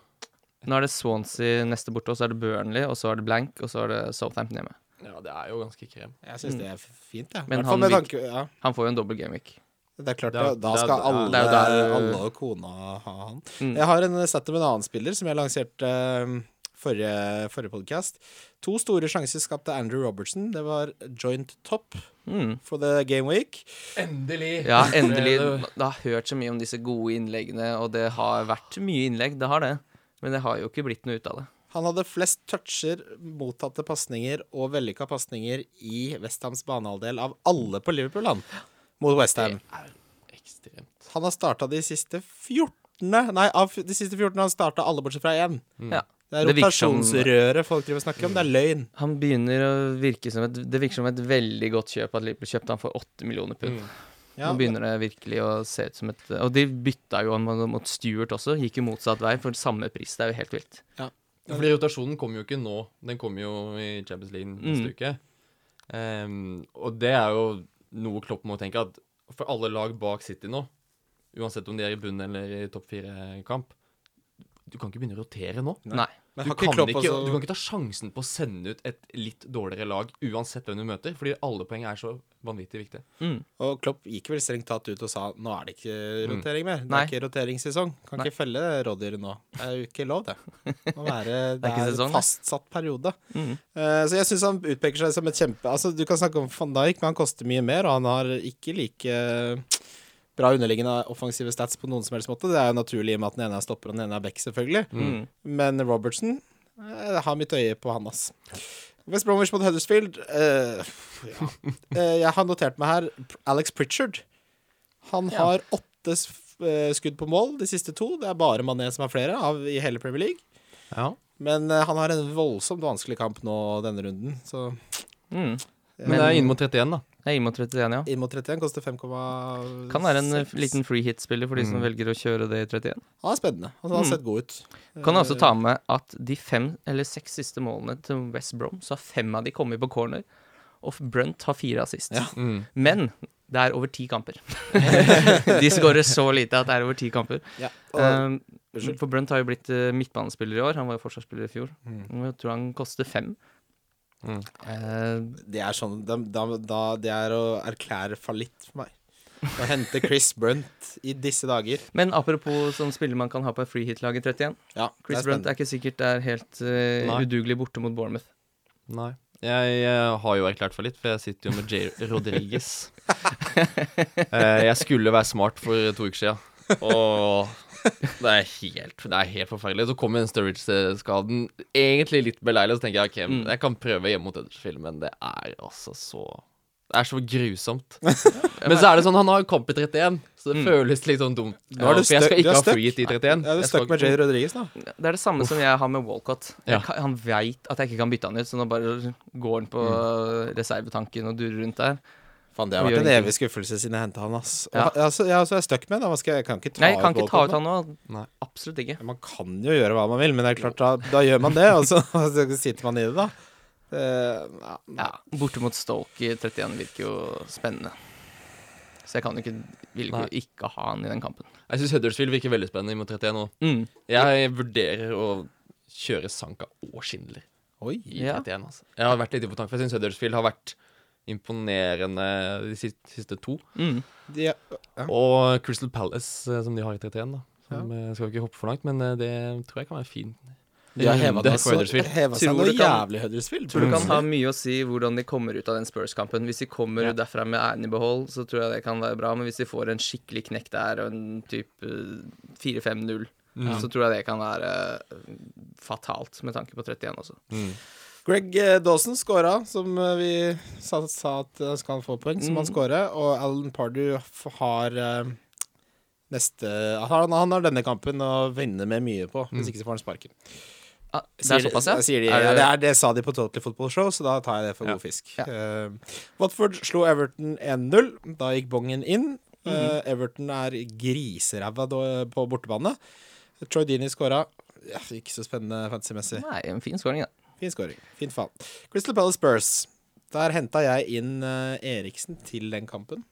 Nå er det Swansea neste borte, og så er det Burnley, og så er det blank, og så er det Southampton hjemme. Ja, det er jo ganske krem. Jeg syns det er f- fint, jeg. Men Hvertfall han med virk- tanke ja. Han får jo en dobbel gameweek. Det er klart, Det er- da, da det er- skal ja. alle, Det er jo der- alle og kona ha han. Mm. Jeg har en sett med en annen spiller som jeg lanserte eh, forrige, forrige podkast. To store sjanser skapte Andrew Robertson. Det var joint top Mm. for the game week. Endelig! Ja, endelig. Det- Det har hørt så mye om disse gode innleggene, og det har vært mye innlegg, det har det. Men det har jo ikke blitt noe ut av det. Han hadde flest toucher, mottatte pasninger og vellykka pasninger i Westhams banehalvdel av alle på Liverpool, han, mot Westham. Ekstremt. Han har starta de siste 14. Nei, av de siste 14 har han starta alle bortsett fra én. Ja. Det er Det virker som- rotasjonsrøret folk driver og snakker om. Det er løgn. Han begynner å virke som et Det virker som et veldig godt kjøp at Liverpool kjøpte han for 8 millioner pund. Ja, Nå begynner det virkelig å se ut som et Og de bytta jo han mot Stuart også, gikk jo motsatt vei for samme pris. Det er jo helt vilt. Fordi rotasjonen kommer jo ikke nå. Den kommer jo i Champions League neste Mm. uke. Ehm, og det er jo noe Klopp må tenke at for alle lag bak City nå, uansett om de er i bunnen eller i topp fire-kamp Du kan ikke begynne å rotere nå. Nei. Men Du har kan, ikke Klopp ikke, også- du kan ikke ta sjansen på å sende ut et litt dårligere lag uansett hvem du møter, fordi alle poeng er så vanvittig viktige. Mm. Og Klopp gikk vel strengt tatt ut og sa nå er det ikke rotering mer. Det Nei. er ikke roteringssesong. Kan Nei. ikke felle rådyret nå. Det er jo ikke lov, det. Det må være det Det er ikke er sesong, en det. fastsatt periode. Mm. Eh, så jeg syns han utpeker seg som et kjempe Altså, Du kan snakke om van Dijk, men han koster mye mer, og han har ikke like eh, bra underliggende offensive stats på noen som helst måte. Det er jo naturlig i og med at den ene er stopper og den ene er back, selvfølgelig. Mm. Men Robertson eh, har mitt øye på han, ass. West Bromwich mot Huddersfield eh, ja. Eh, Jeg har notert meg her P- Alex Pritchard. Han Ja. har åtte s- f- eh, skudd på mål de siste to. Det er bare Mané som har flere av i hele Premier League. Ja. Men eh, han har en voldsomt vanskelig kamp nå denne runden. Så Mm. Men, det er inn mot 31, da. Jeg gir meg 31, ja. inn mot 31 koster 5,6. Kan være en eh, liten free hit-spiller for de som velger å kjøre det i 31. Han er spennende. Han har Mm. sett god ut. Kan jeg også Eh. ta med at de fem eller seks siste målene til West Brom, så har fem av de kommet på corner, og Brunt har fire assist. Ja. Mm. Men det er over ti kamper. de skårer så lite at det er over ti kamper. Ja. Og, Um, unnskyld. for Brunt har jo blitt eh, midtbanespiller i år. Han var jo forsvarsspiller i fjor. Mm. Jeg tror han koster fem. Mm. Eh, Det er sånn da, da, da, Det er å erklære fallitt for meg. Å hente Chris Brunt i disse dager. men apropos sånn spiller man kan ha på et free hit-lag i 31. Ja, det Chris er Brunt spennende. er ikke sikkert det er helt eh, Nei. udugelig borte mot Bournemouth. Nei. Jeg, eh, har jo erklært for litt, for jeg sitter jo med J. Rodriguez. Eh, jeg skulle være smart for to uker siden, og det er helt, det er helt forferdelig. Så kommer den Sturridge-skaden, egentlig litt beleilig, så tenker jeg ok, men jeg kan prøve hjemme mot Edgersfield, men det er altså så det er så grusomt. Men så er det sånn, han har jo kamp i 31, så det føles litt sånn dumt. Nå er du for jeg stuck- skal du er ikke ha stuck. free hit i 31. Ja, du Jeg er skal stuck med ikke- Jay Rodriguez, da. Det er det samme som jeg har med Walcott. Ja. Jeg kan, han veit at jeg ikke kan bytte han ut, så nå bare går han på reservetanken og durer rundt der. Faen, det har Og vært en gjør evig ingenting. skuffelse siden jeg henta han, ass. Og, Ja. ha- altså, jeg, altså, jeg er stuck med da. Hva skal jeg- jeg kan ikke ta Nei, jeg kan ikke ta Walcott ut nå. han nå. Nei. Absolutt ikke. Man kan jo gjøre hva man vil, men det er klart, da, da gjør man det, og så og så sitter man i det, da. Det, ja, Ja, Borte mot Stoke i 31 virker jo spennende. Så jeg kan jo ikke, vil jo Nei. ikke, ikke ha han i den kampen. Jeg syns Huddersfield virker veldig spennende mot 31 nå. Mm. Jeg vurderer å kjøre Sanka og Schindler oi. i Ja. 31. Altså. Jeg har vært litt på tanken, for jeg syns Huddersfield har vært imponerende de siste, siste to. Mm. De, ja. Og Crystal Palace, eh, som de har i 31, da. Som, eh, Skal ikke hoppe for langt, men eh, det tror jeg kan være fin. de har heva Det er det så- for Huddersfield. heva seg Tror noe du kan- jævlig, Huddersfield. Tror du kan ha mye å si hvordan de kommer ut av den Spurs-kampen. Hvis de kommer derfra med æren i behold, så tror jeg det kan være bra. Men hvis de får en skikkelig knekk der og en type 4-5-0, så tror jeg det kan være eh, fatalt med tanke på 31 også. Greg eh, Dawson skåra, som eh, vi sa, sa at eh, skal han få poeng, som han Mm. skåra. Og Alan Pardew f- har eh, neste han, han har denne kampen å vinne med mye på, hvis ikke så får han sparken. Ah, Mm. det er såpass, ja? Jeg Sier de, Er ja, det, det- er, det sa de på Total Football Show, så da tar jeg det for god fisk. Eh, Watford slo Everton 1-0. Da gikk bongen inn. Mm. Eh, Everton er griseræva da- på bortebane. Troy Dini skåra. Ja, ikke så spennende fantasymessig. Nei, en fin skåring, da. Fin scoring. Fint faen. Crystal Palace Spurs. Der henta jeg inn eh, Eriksen til den kampen.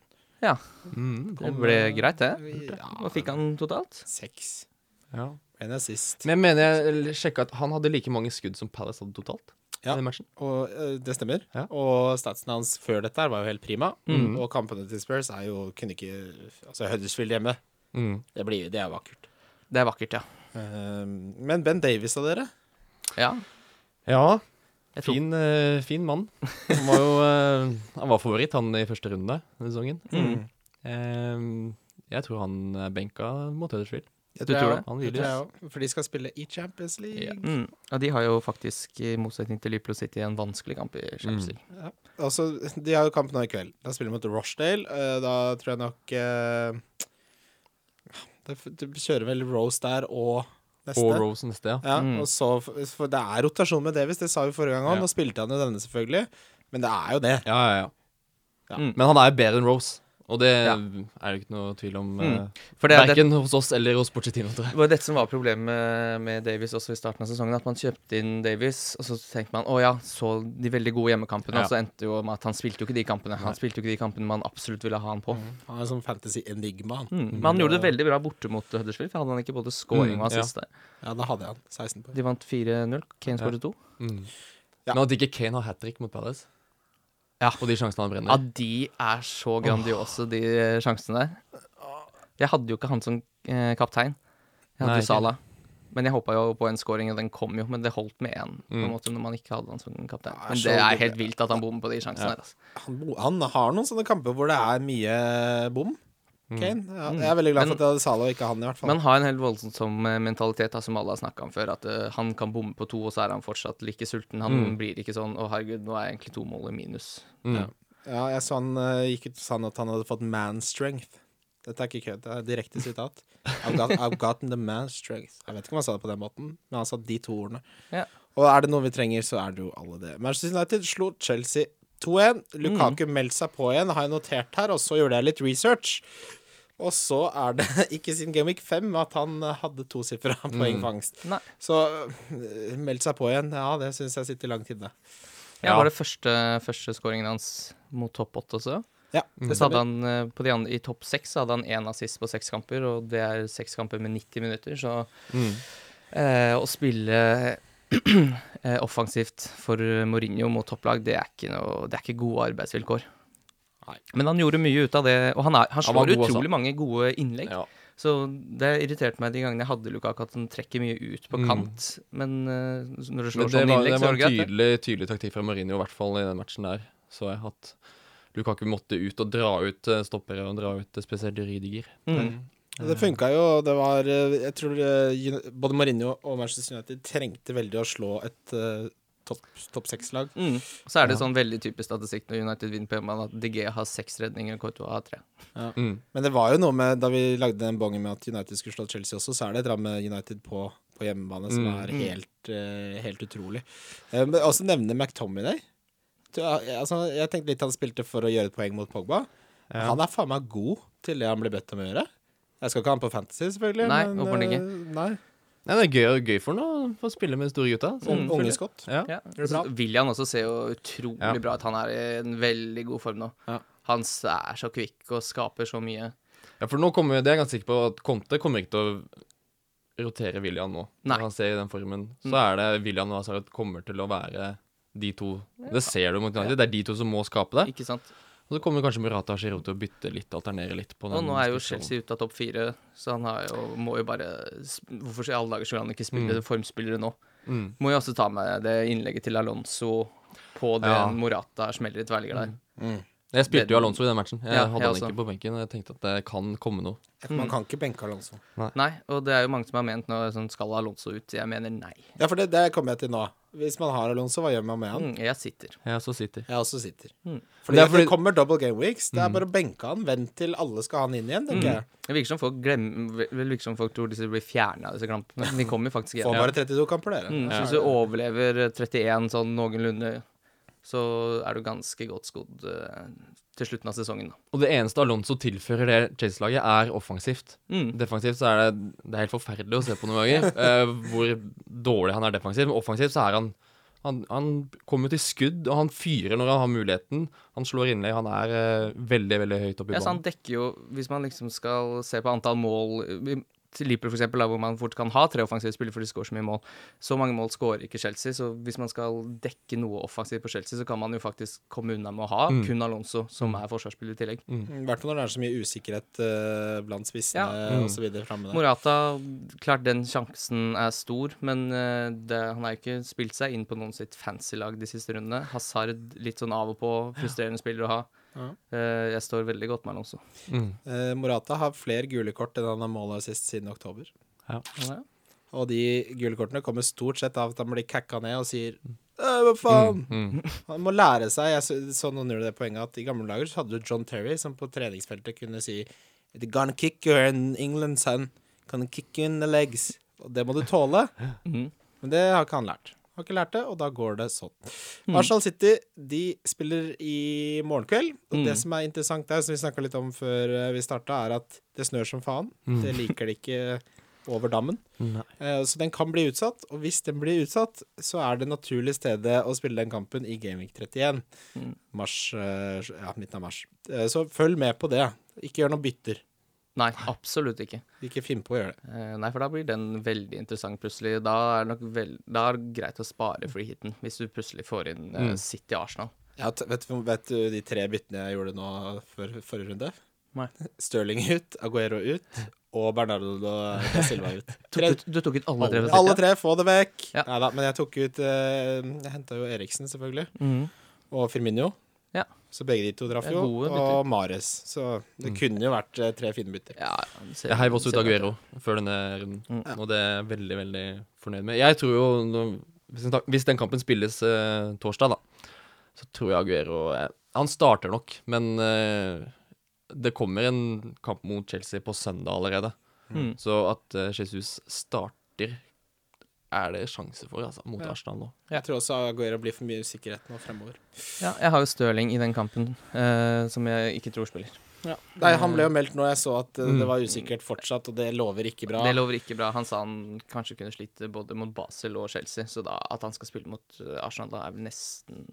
Ja. Mm, Det ble eh, greit, det. Ja, Hva fikk han totalt? seks. Ja. En assist. Men jeg mener jeg sjekka at han hadde like mange skudd som Palace hadde totalt. Ja. i den matchen. Og eh, det stemmer. Ja. Mm. Og statsen hans før dette her var jo helt prima. Og kampene til Spurs er jo kunne ikke Altså Huddersfield hjemme. Mm. Det, blir, det er vakkert. Det er vakkert, ja. Eh, men Ben Davies av dere? Ja, Ja. jeg tror Fin, eh, fin mann. Han var jo eh, Han var favoritt, han i første runde denne sesongen. Eh, jeg tror han er benka mot Huddersfield. Jeg Du tror det? også. Han Jeg vil tror det. jeg også. For de skal spille i Champions League. mm. Og de har jo faktisk, i motsetning til Liverpool City, en vanskelig kamp i Champions League. Altså, de har jo kamp nå i kveld. Da spiller de mot Rochdale. eh, Da tror jeg nok eh, da f- Du kjører vel Rose der og neste. Og Rose neste, ja. Ja, og så, for det er rotasjon med Davis, det sa vi forrige gang òg. Ja. Nå spilte han jo denne, selvfølgelig. Men det er jo det. Ja, ja, ja. Ja. Mm. Men han er jo bedre enn Rose, og det Ja. er det ikke noe tvil om. Mm. eh, For det, er- det, Verken hos oss eller hos Porcetino, tror jeg. det var dette som var problemet med, med Davies også i starten av sesongen. At man kjøpte inn Davies, og så tenkte man å ja, så de veldig gode hjemmekampene. Ja. Og så endte jo med at han spilte jo ikke de kampene. Han spilte jo ikke de kampene man absolutt ville ha han på. Mm. Han er sånn fantasy-enigma. han. Mm. Men han gjorde det veldig bra borte mot Huddersfield, for hadde han ikke både scoring Mm, og ja. assist der. Ja, da hadde jeg han. 16 poeng. De vant 4-0. Kane skåret to. Ja. Men at ikke Kane har hat trick mot Palace, Ja. og de sjansene han Ja, brenner de er så grandiose, de eh, sjansene der. Jeg hadde jo ikke han som eh, kaptein. Jeg hadde Nei, jo ikke. Salah. Men jeg håpa jo på en scoring, og den kom jo. Men det holdt med én, på en Mm. måte, når man ikke hadde han som kaptein. Ja, Men så det det- er helt vilt at han bommer på de sjansene Ja. der. Altså. Han, bo- han har noen sånne kamper hvor det er mye bom. Mm. Kane. Ja, jeg er veldig glad Men- for at jeg hadde Zalo og ikke han, i hvert fall. Men han har en helt voldsom eh, mentalitet, da, som alle har snakka om før. At eh, han kan bomme på to, og så er han fortsatt like sulten. Han blir ikke sånn 'Å, herregud, nå er egentlig to mål i minus'. Mm. Ja, jeg så han eh, gikk ut og sa han at han hadde fått man strength. Dette er ikke kødd, det er direkte sitat. I've, got, I've gotten the man strength. Jeg vet ikke om han sa det på den måten, men han sa de to ordene. Ja. Og er det noe vi trenger, så er det jo alle det. Manchester United slo Chelsea 2-1. Lukaku Mm. meldte seg på igjen, har jeg notert her, og så gjorde jeg litt research. Og så er det ikke siden Game Week 5 at han eh, hadde tosifra poengfangst. Mm. Nei. Så eh, meldt seg på igjen, ja, det syns jeg sitter langt inne. Ja, Ja. Var det første, første scoringen hans mot topp åtte også? Ja, det Så hadde stemmer. han, eh, på de andre, I topp seks så hadde han én assist på seks kamper, og det er seks kamper med 90 minutter. Så Mm. eh, å spille eh, offensivt for Mourinho mot topplag, det er ikke, noe, det er ikke gode arbeidsvilkår. Nei. Men han gjorde mye ut av det, og han, er, han Han var slår god, altså. utrolig mange gode innlegg. Ja. Så det irriterte meg de gangene jeg hadde Lukaku, at han trekker mye ut på Mm. kant. Men eh, når du Men slår det sånn var, innlegg, det så var er en det greit. liksom. det. tydelig, tydelig taktikk fra Marino, i hvert fall i den matchen der. Så jeg at Lukaku måtte ut og dra ut eh, stoppere, og dra ut eh, spesielt Rydiger. Mm. Det Eh. funka jo, det var eh, Jeg tror eh, Uni- både Mourinho og Manchester United trengte veldig å slå et eh, topp topp seks-lag. Mm. Og så er det sånn veldig typisk statistikk når United vinner på hjemmebane, at DG har seks redninger og Courtois har tre. Mm. Men det var jo noe med da vi lagde den bongen med at United skulle slå Chelsea også, så er det et eller annet med United på, på hjemmebane som Mm. er helt, eh, helt utrolig. Eh, men også nevne McTominay. Du, eh, Altså, jeg tenkte litt han spilte for å gjøre et poeng mot Pogba. Han er faen meg god til det han blir bedt om å gjøre. Jeg skal ikke ha han på Fantasy, selvfølgelig. Nei, men, håper han eh, Nei, Nei, det er gøy, gøy for ham å få spille med de store gutta. så Mm. Unge selvfølgelig. Scott. Ja. Ja. det bra? Så William også ser jo utrolig Ja. bra ut. Han er i en veldig god form nå. Ja. Han er så kvikk og skaper så mye. ja, for nå kommer det er jeg ganske sikker på at Conte kommer ikke til å rotere William nå. Nei. Mm. Når han ser i den formen, så er det William og Hazard kommer til å være de to. Det ser du mot United. Det er de to som må skape det. Ikke sant? Og så kommer kanskje Murata og Giroud til å bytte litt, alternere litt på den. Og nå er jo spissrollen. Chelsea ute av topp fire, så han har jo, må jo bare sp- Hvorfor i alle dager skulle han ikke spille formspillere nå? Mm. Må jo også ta med det innlegget til Alonso på den Ja. Morata smeller i tverrligger der. Jeg spilte Det- jo Alonso i den matchen. Jeg Ja, hadde jeg han også. ikke på benken. og Jeg tenkte at det kan komme noe. Man kan ikke benke Alonso. Nei, og det er jo mange som har ment nå sånn, Skal Alonso ut? Jeg mener nei. Ja, for det, det kommer jeg til nå. Hvis man har Alonso, hva gjør man med han? Mm, jeg sitter. Jeg også sitter. Jeg også sitter. Fordi Mm. Det det, er fordi- kommer double game weeks. Det er bare å benke han. Vent til alle skal ha han inn igjen, Mm. tenker jeg. Det virker som folk, glemmer, det virker som folk tror disse blir fjerna, disse klampene. De kommer jo faktisk igjen. Får bare 32 kamper, dere. Mm, så hvis du overlever 31 sånn noenlunde, så er du ganske godt skodd eh, til slutten av sesongen. da. Og det eneste Alonso tilfører det Chelsea-laget, er offensivt. Mm. Defensivt så er det, det er helt forferdelig å se på noen ganger eh, hvor dårlig han er defensivt. Men offensivt så er han Han, han kommer til skudd, og han fyrer når han har muligheten. Han slår innlegg. Han er eh, veldig, veldig høyt oppe i Ja, så banen. han dekker jo, hvis man liksom skal se på antall mål i- til Liverpool for eksempel, da, hvor man fort kan ha tre offensive spillere fordi de skårer så mye mål. Så mange mål skårer ikke Chelsea, så hvis man skal dekke noe offensivt på Chelsea, så kan man jo faktisk komme unna med å ha kun Alonso, som er forsvarsspiller i tillegg. I hvert fall når det er så mye usikkerhet eh, blant spissene Ja. Mm. og så videre framme der. Morata, klart den sjansen er stor, men eh, det, han har jo ikke spilt seg inn på noen sitt fancy lag de siste rundene. Hazard litt sånn av og på, frustrerende spiller å ha. Ja. Eh, jeg står veldig godt med han også. Mm. Eh, Morata har flere gule kort enn han har måla sist siden oktober. Ja. Og de gule kortene kommer stort sett av at han blir kakka ned og sier «Øh, hva faen? Mm. Han må lære seg Jeg så, så noen gjorde det poenget at i gamle dager så hadde du John Terry som på treningsfeltet kunne si «They're Gonna kick you in England, son. Gonna kick you in the legs. Og det må du tåle. Mhm. Men det har ikke han lært. Har ikke lært det, og da går det sånn. Arsenal City de spiller i morgen kveld. Og det som er interessant der, som vi snakka litt om før eh, vi starta, er at det snør som faen. Det liker de ikke over dammen. Nei. Eh, Så den kan bli utsatt, og hvis den blir utsatt, så er det naturlig stedet å spille den kampen i Gaming 31. Mars, eh, ja, midten av mars. Eh, Så følg med på det. Ikke gjør noen bytter. Nei, absolutt ikke. Ikke finn på å gjøre det. Eh, nei, for da blir den veldig interessant plutselig. Da er det, nok vel, da er det greit å spare free hiten, hvis du plutselig får inn eh, City Arsenal. Ja, t- vet, du- vet du de tre byttene jeg gjorde nå før forrige runde? Nei. Stirling ut, Aguero ut og Bernardo da Silva ut. Tre, Tok, du, du tok ut alle tre? fra City? alle tre, få det vekk! Ja. Neida, men jeg tok ut eh, Jeg henta jo Eriksen, selvfølgelig. Mhm. Og Firmino. Ja. Så begge de to traff Det er jo. gode bytter. Mm. Og Mares. Så det kunne jo vært eh, tre fine bytter. Ja, ja, ser- Jeg heiv også ut ser- Aguero før denne runden, Mm. og det er jeg veldig, veldig fornøyd med. Jeg tror jo, nå- hvis den, ta- hvis den kampen spilles eh, torsdag, da, så tror jeg Aguero eh, Han starter nok, men eh, det kommer en kamp mot Chelsea på søndag allerede. Mm. Så at eh, Jesus starter, er det sjanse for, altså, mot Arsenal nå. Jeg tror også Aguero blir for mye usikkerhet nå fremover. Ja, jeg har jo Stirling i den kampen, eh, som jeg ikke tror spiller. Nei, han ble jo meldt nå. Jeg så at eh, det var usikkert fortsatt, og det lover ikke bra. Mm. Det lover ikke bra. Han sa han kanskje kunne slite både mot Basel og Chelsea, så da, at han skal spille mot eh, Arsenal, da er vel nesten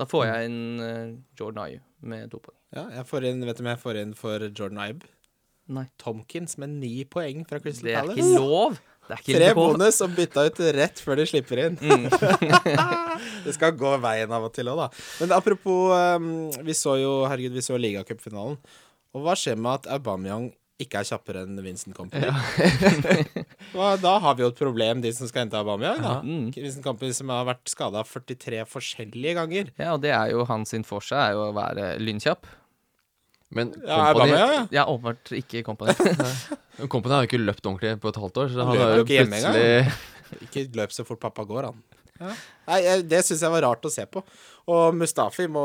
Da får jeg en eh, Jordan Ayew med to poeng. Ja, jeg får inn, vet du hvem jeg får inn for Jordan Ibe? Nei. Tomkins med ni poeng fra Crystal Det er ikke Palace. lov! Det er ikke Tre lov. bonus og bytta ut rett før de slipper inn. det skal gå veien av og til òg, da. Men ehm, apropos, um, vi så jo herregud, vi så ligacupfinalen. Og hva skjer med at Aubameyang ikke er kjappere enn Vincent Company. Og da har vi jo et problem, de som skal hente Aubameyang. Da. Vincent Company som har vært skada 43 forskjellige ganger. Ja, og det er jo hans sin for seg, er jo å være lynkjapp. Men Ja, Aubameyang, ja. Ja, åpenbart ikke Company. Company har jo ikke løpt ordentlig på et halvt år, så han løper har jo ikke hjemme engang. plutselig Ikke løp så fort pappa går, han. Nei, jeg, Det syns jeg var rart å se på. Og Mustafi må,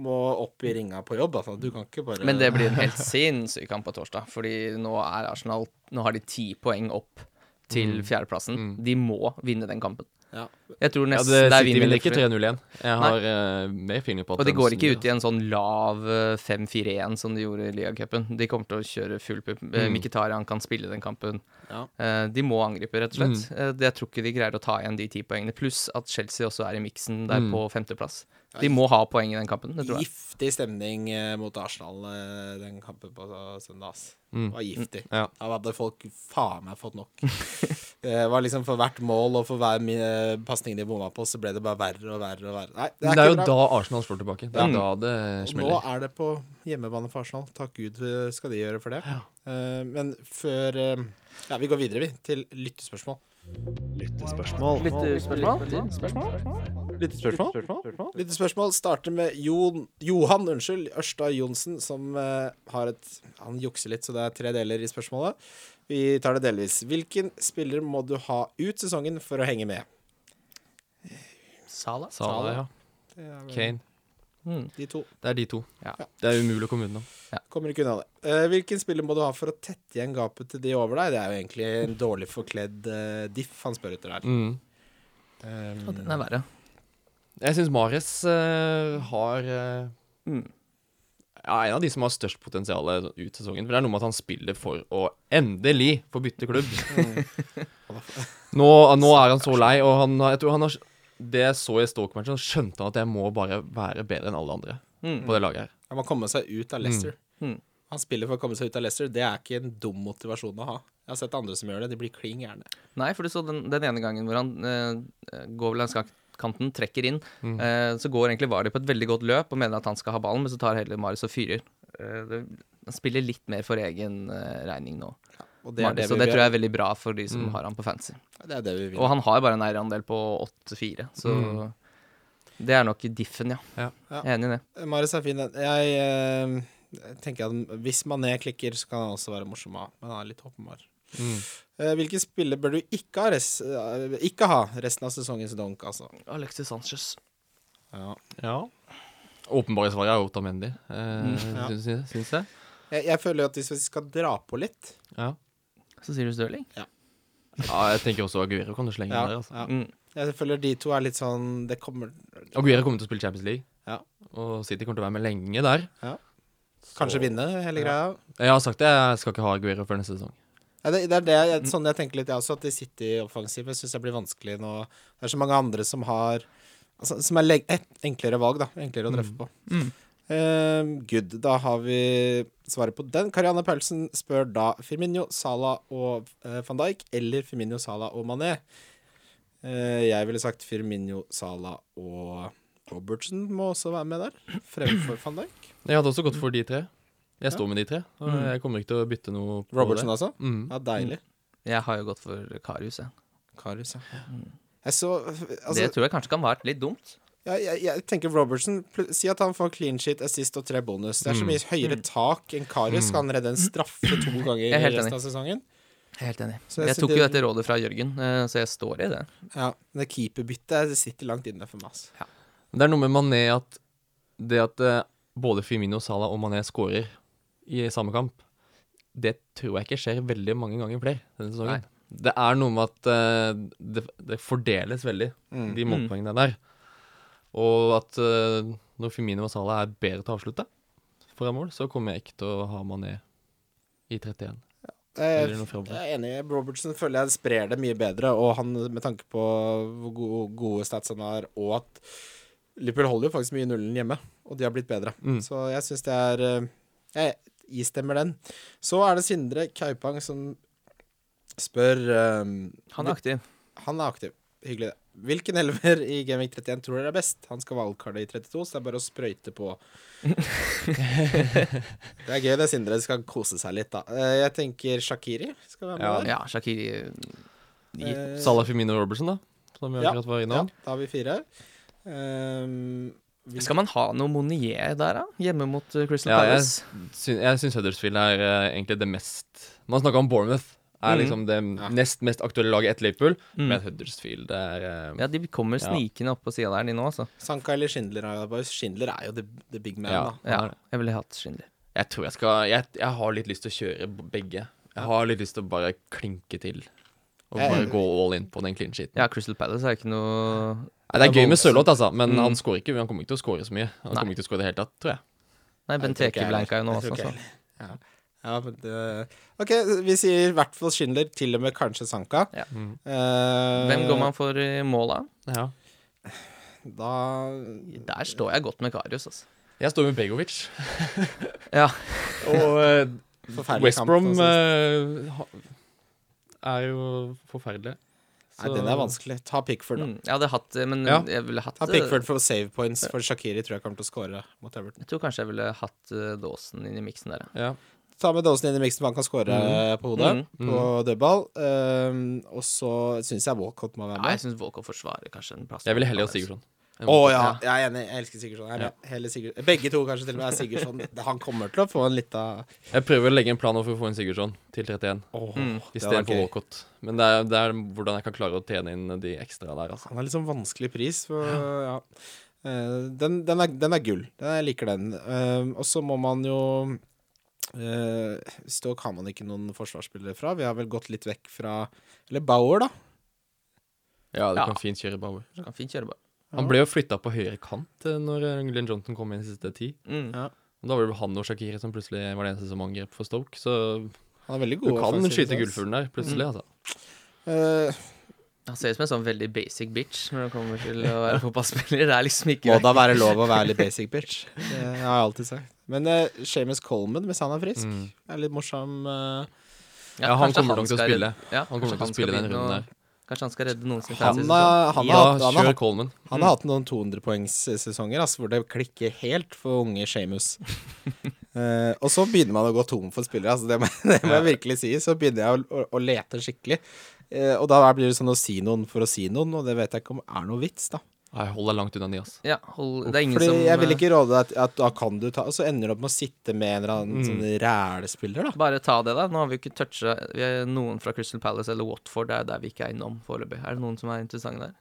må opp i ringa på jobb. Altså. Du kan ikke bare Men det blir en helt sinnssyk kamp på torsdag, fordi nå er Arsenal Nå har de ti poeng opp Mm. til fjerdeplassen. De må vinne den kampen. ja. Jeg tror Ja, nesten det det er City vinn vinner eller ikke fly. 3-0 igjen. Jeg har eh, mer feeling på at Og de den går ikke snur, ut i en sånn lav eh, 5-4-1 som de gjorde i ligacupen. De kommer til å kjøre full pupp. Mm. Mkhitarian kan spille den kampen. Ja. Eh, De må angripe, rett og slett. Eh, det- Jeg tror ikke de greier å ta igjen de ti poengene. Pluss at Chelsea også er i miksen der på femteplass. De må ha poeng i den kampen, det tror jeg. Giftig stemning eh, mot Arsenal eh, den kampen på altså, søndag. ass. Det var giftig. Mm. Ja. Da hadde folk faen meg fått nok. det var liksom for hvert mål og for hver mi- eh, pasning de bomma på, så ble det bare verre og verre og verre. Nei, det Men er, det er jo ikke bra. Mm. da Arsenal slår tilbake. Det er da det Nå smeller. er det på hjemmebane for Arsenal. Takk Gud eh, skal de gjøre for det. Eh, men før eh, Ja, vi går videre, vi, til lyttespørsmål. Lyttespørsmål. Lyttespørsmål? Lyttespørsmål starter med Jon, Johan unnskyld, Ørsta Johnsen, som eh, har et Han jukser litt, så det er tre deler i spørsmålet. Vi tar det delvis. Hvilken spiller må du ha ut sesongen for å henge med? Salah? Salah, ja. Kane. De to Det er de to. Ja. Det er umulig å komme unna. kommer ikke unna det. Eh, hvilken spiller må du ha for å tette igjen gapet til de over deg? Det er jo egentlig en dårlig forkledd eh, diff han spør etter der. Mm. Um, Den er verre. Jeg syns Mares har eh, Mm. ja, en av de som har størst potensial ut sesongen. For det er noe med at han spiller for å endelig få bytte klubb. Mm. nå, nå er han så lei, og han, har- jeg tror han har Det jeg så i Stoke-matchen, han skjønte han at jeg må bare være bedre enn alle andre Mm. på det laget her. han må komme seg ut av Leicester. Mm. Han spiller for å komme seg ut av Leicester. Det er ikke en dum motivasjon å ha. Jeg har sett andre som gjør det. De blir klin gærne. Nei, for du så den, den ene gangen hvor han eh, går vel langs kak- kanten, trekker inn. eh, så går egentlig Vardy på et veldig godt løp og mener at han skal ha ballen, men så tar heller Marius og fyrer. Eh, det, han spiller litt mer for egen eh, regning nå. Og Det det så vi det vil. tror jeg er veldig bra for de som har han på fancy. Det er det vi vil. Og han har bare en eierandel på 8-4, så det er nok diffen, ja. Ja. Ja. Jeg er enig i det. Marius er fin. den. Jeg eh, tenker at hvis Mané klikker, så kan han også være morsom å ha, men han er litt åpenbar. Mm. Eh, hvilke spillere bør du ikke ha, res eh, ikke ha resten av sesongens donk, altså? Alexis Sanchez. Ja. Mm. Åpenbare svaret er Otamendi, eh, Ja. syns jeg- syns jeg. Jeg, jeg føler jo at hvis vi skal dra på litt Ja. Så sier du Stirling? ja, jeg tenker også Aguero kan du slenge ja, inn der. altså ja. Mm. Jeg føler de to er litt sånn Det kommer Aguero kommer til å spille Champions League, Ja. og City kommer til å være med lenge der. Kanskje vinne hele greia. Jeg har sagt det, jeg skal ikke ha Aguero før neste sesong. Ja, det, det er det, jeg, sånn jeg tenker litt, jeg også. At de sitter i offensivet syns jeg blir vanskelig nå. Det er så mange andre som har altså, Som er leg et enklere valg, da. Enklere å treffe på. Eh, good. Da har vi svaret på den. Karianne Paulsen spør da Firmino, Sala og eh, van Dijk eller Firmino, Sala og Mané. Eh, jeg ville sagt Firmino, Sala og Robertsen må også være med der, fremfor van Dijk. Jeg hadde også gått for de tre. Jeg står med de tre, og Mm. jeg kommer ikke til å bytte noe på Robertsen, det. altså. Mm. Ja, deilig. Jeg har jo gått for Karius, jeg. Karius, ja. Jeg så altså, det tror jeg kanskje kan være litt dumt. Jeg, jeg, jeg tenker Robertson pl- Si at han får clean sheet, assist og tre bonus. Det er så Mm. mye høyere tak enn Karius. Skal han redde en straffe to ganger er helt resten enig. av sesongen? Jeg er helt enig. Så jeg Jeg synes tok jo det- dette rådet fra Jørgen, eh, så jeg står i det. Ja, men det keeperbyttet sitter langt inne for meg. ass. Det er noe med Mané at det at eh, både Firmino, Salah og Mané skårer i samme kamp, det tror jeg ikke skjer veldig mange ganger flere denne sesongen. Det er noe med at eh, det, det fordeles veldig, Mm. de målpoengene der. Og at eh, når Firmino og Salah er bedre til å avslutte foran mål, så kommer jeg ikke til å ha Mané i 31. Jeg, Eller noe framover. jeg er enig. Robertson føler jeg sprer det mye bedre, og han med tanke på hvor gode, gode stats han har, og at Liverpool holder jo faktisk mye nullen hjemme, og de har blitt bedre. Mm. Så jeg syns det er eh, Jeg istemmer den. Så er det Sindre Kaupang som spør eh, Han er aktiv. Han er aktiv. Hyggelig, det. Hvilken elver i Gaming 31 tror dere er best? Han skal valgkarde i 32, så det er bare å sprøyte på. det er gøy det Sindre skal kose seg litt, da. Eh, Jeg tenker Shakiri skal være med der. Ja, Shakiri Eh, Salah Femino Robertson, da. Som vi Ja. akkurat var ja, innom. da har vi fire. Um, vi, Skal man ha noe Monier der, da? Hjemme mot eh, Crystal Ja, jeg, Palace? syn, jeg syns Huddersfield er eh, egentlig det mest Man snakker om Bournemouth. Er Mhm. liksom det Mm. Ja. nest mest aktuelle laget etter Liverpool. Mm. Men Huddersfield er eh, Ja, de kommer Ja. snikende opp på sida der, de nå, altså. Sanka eller Schindler? har jeg bare- Schindler er jo the, the big man, ja, da. han Ja, er det. jeg ville hatt Schindler. Jeg tror jeg skal jeg, jeg har litt lyst til å kjøre b- begge. Jeg har litt lyst til å bare klinke til. Og Jeg- bare gå all in på den clean sheeten. Ja, Crystal Palace er ikke noe Nei, det er Det er gøy med voldsomt. Sørloth, altså, men Mm. han skårer ikke. Han kommer ikke til å skåre så mye. Han Nei. kommer ikke til å skåre i det hele tatt, tror jeg. Nei, Bent Jeg tror ikke Reke jeg blanka jo Jeg nå også, altså. tror ikke så. jeg heller. Ja. ja, men det OK, vi sier i hvert fall Schindler, til og med kanskje Sanka. Ja. Mm. Eh, Hvem går man for i mål, da? Ja. Da Der står jeg godt med Karius, altså. Jeg står med Begovic. Ja. Og eh, Forferdelig West kamp, Brom altså. eh, ha- er jo forferdelig. Nei, den er vanskelig. Ta Pickford, da. Mm, jeg hadde hatt eh, Men Ja. jeg ville hatt Ta eh, Pickford for save points, for Shakiri tror jeg kommer til å score mot Everton. Jeg tror kanskje jeg ville hatt eh, Dawson inn i miksen der, ja. Ja. Ta med Dawson inn i miksen, for han kan score eh, på hodet, Mm. på dødball. Um, og så syns jeg Walcott må være Nei, jeg med. syns Walker forsvarer kanskje en plass. Jeg ville heller ha Sigurdsson. Å ja, jeg er enig. Jeg elsker Sigurdsson. Jeg er med. Hele Sigurd... Begge to kanskje til og med er Sigurdsson. Det- Han kommer til å få en lita Jeg prøver å legge en plan over for å få inn Sigurdsson til 31 Åh, Mm. det hadde vært istedenfor gøy. Walcott. Men det er, det er hvordan jeg kan klare å tjene inn de ekstra der, altså. Han er litt sånn vanskelig pris. For, ja. Eh, den, den, er, den er gull. Den, jeg liker den. Eh, og så må man jo uh, Stoke har man ikke noen forsvarsspillere fra. Vi har vel gått litt vekk fra Eller Bauer, da. Ja, du Ja. kan fint kjøre Bauer. Kan fint kjøre bare. Han ble jo flytta på høyre kant eh, når eh, Glenn Johnson kom inn i siste ti. Mm. Ja. Og Da var det han og Shakiri som plutselig var det eneste som angrep for Stoke. Så Han er veldig du god. kan offensiv, skyte altså. gullfuglen der, plutselig. altså. Eh, Han ser ut som en sånn veldig basic bitch når det kommer til å være fotballspiller. Det er liksom ikke må da være lov å være litt basic bitch. Det har jeg alltid sagt. Men uh, Seamus Coleman, hvis han er frisk, Mm. er litt morsom. eh, Ja, han kanskje kommer nok til å skal spille. redde- Ja, Han kommer til å kanskje spille skal den begynne runden å- der. Kanskje han skal redde noen sin han, fantasy-sesong. har- han, Ja, har hatt- han, har kjør hatt- Coleman. han har hatt noen 200-poengssesonger altså, hvor det klikker helt for unge Seamus. Eh, og så begynner man å gå tom for spillere, altså, det, må, det må jeg virkelig si. Så begynner jeg å, å, å lete skikkelig. Eh, og da blir det sånn å si noen for å si noen, og det vet jeg ikke om er noe vits, da. Nei, hold deg langt unna de, ass. Ja, hold, det er ingen Fordi som jeg vil eh, ikke råde deg til at da kan du ta Og så ender du opp med å sitte med en eller Mm. annen sånn rælespiller, da. eh, Bare ta det, da. Nå har vi jo ikke toucha noen fra Crystal Palace eller Watford. Det er der vi ikke er innom foreløpig. Er det noen som er interessante der?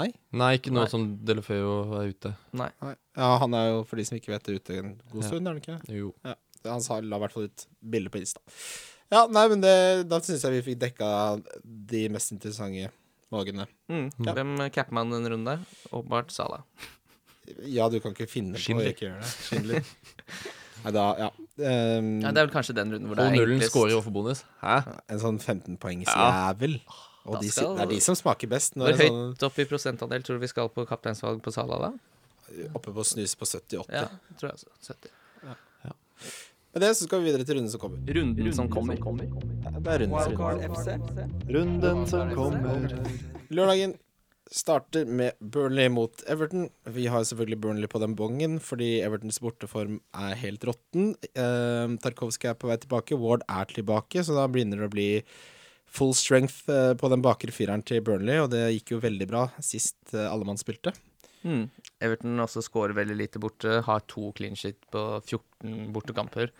Nei. Nei, ikke nå Nei. som Delefeu er ute. Nei. Nei. Ja, han er jo, for de som ikke vet det, ute en god Ja. stund, er han ikke? Jo. det? Han sa, la i hvert fall ut bilde på Insta. Ja, nei, men det, da syns jeg vi fikk dekka de mest interessante valgene. Mm. Ja. Hvem capper man den runden der? Åpenbart Salah. Ja, du kan ikke finne på Schindler. å ikke gjøre det. Schindler. Nei da, ja. Ehm, Ja, det er vel kanskje den runden hvor det Og er nullen enklest. scorer overfor bonus. Hæ? En sånn 15-poengs Ja. jævel. Og Da de, si- skal- det er de som smaker best. Når Hvor det er sånn, høyt opp i prosentandel tror du vi skal på kapteinsvalg på Salah da? sånn oppe på snus på 78. Ja, tror jeg altså. 70. Med det så skal vi videre til runden som kommer. Runden som kommer. Ja, Det er runden som Wildcard kommer. FC. Runden som kommer. Lørdagen starter med Burnley mot Everton. Vi har selvfølgelig Burnley på den bongen fordi Evertons borteform er helt råtten. Eh, Tarkovskij er på vei tilbake, Ward er tilbake, så da begynner det å bli full strength eh, på den bakre fireren til Burnley, og det gikk jo veldig bra sist eh, alle mann spilte. Mm. Everton også scorer veldig lite borte, har to clean shit på 14 bortekamper.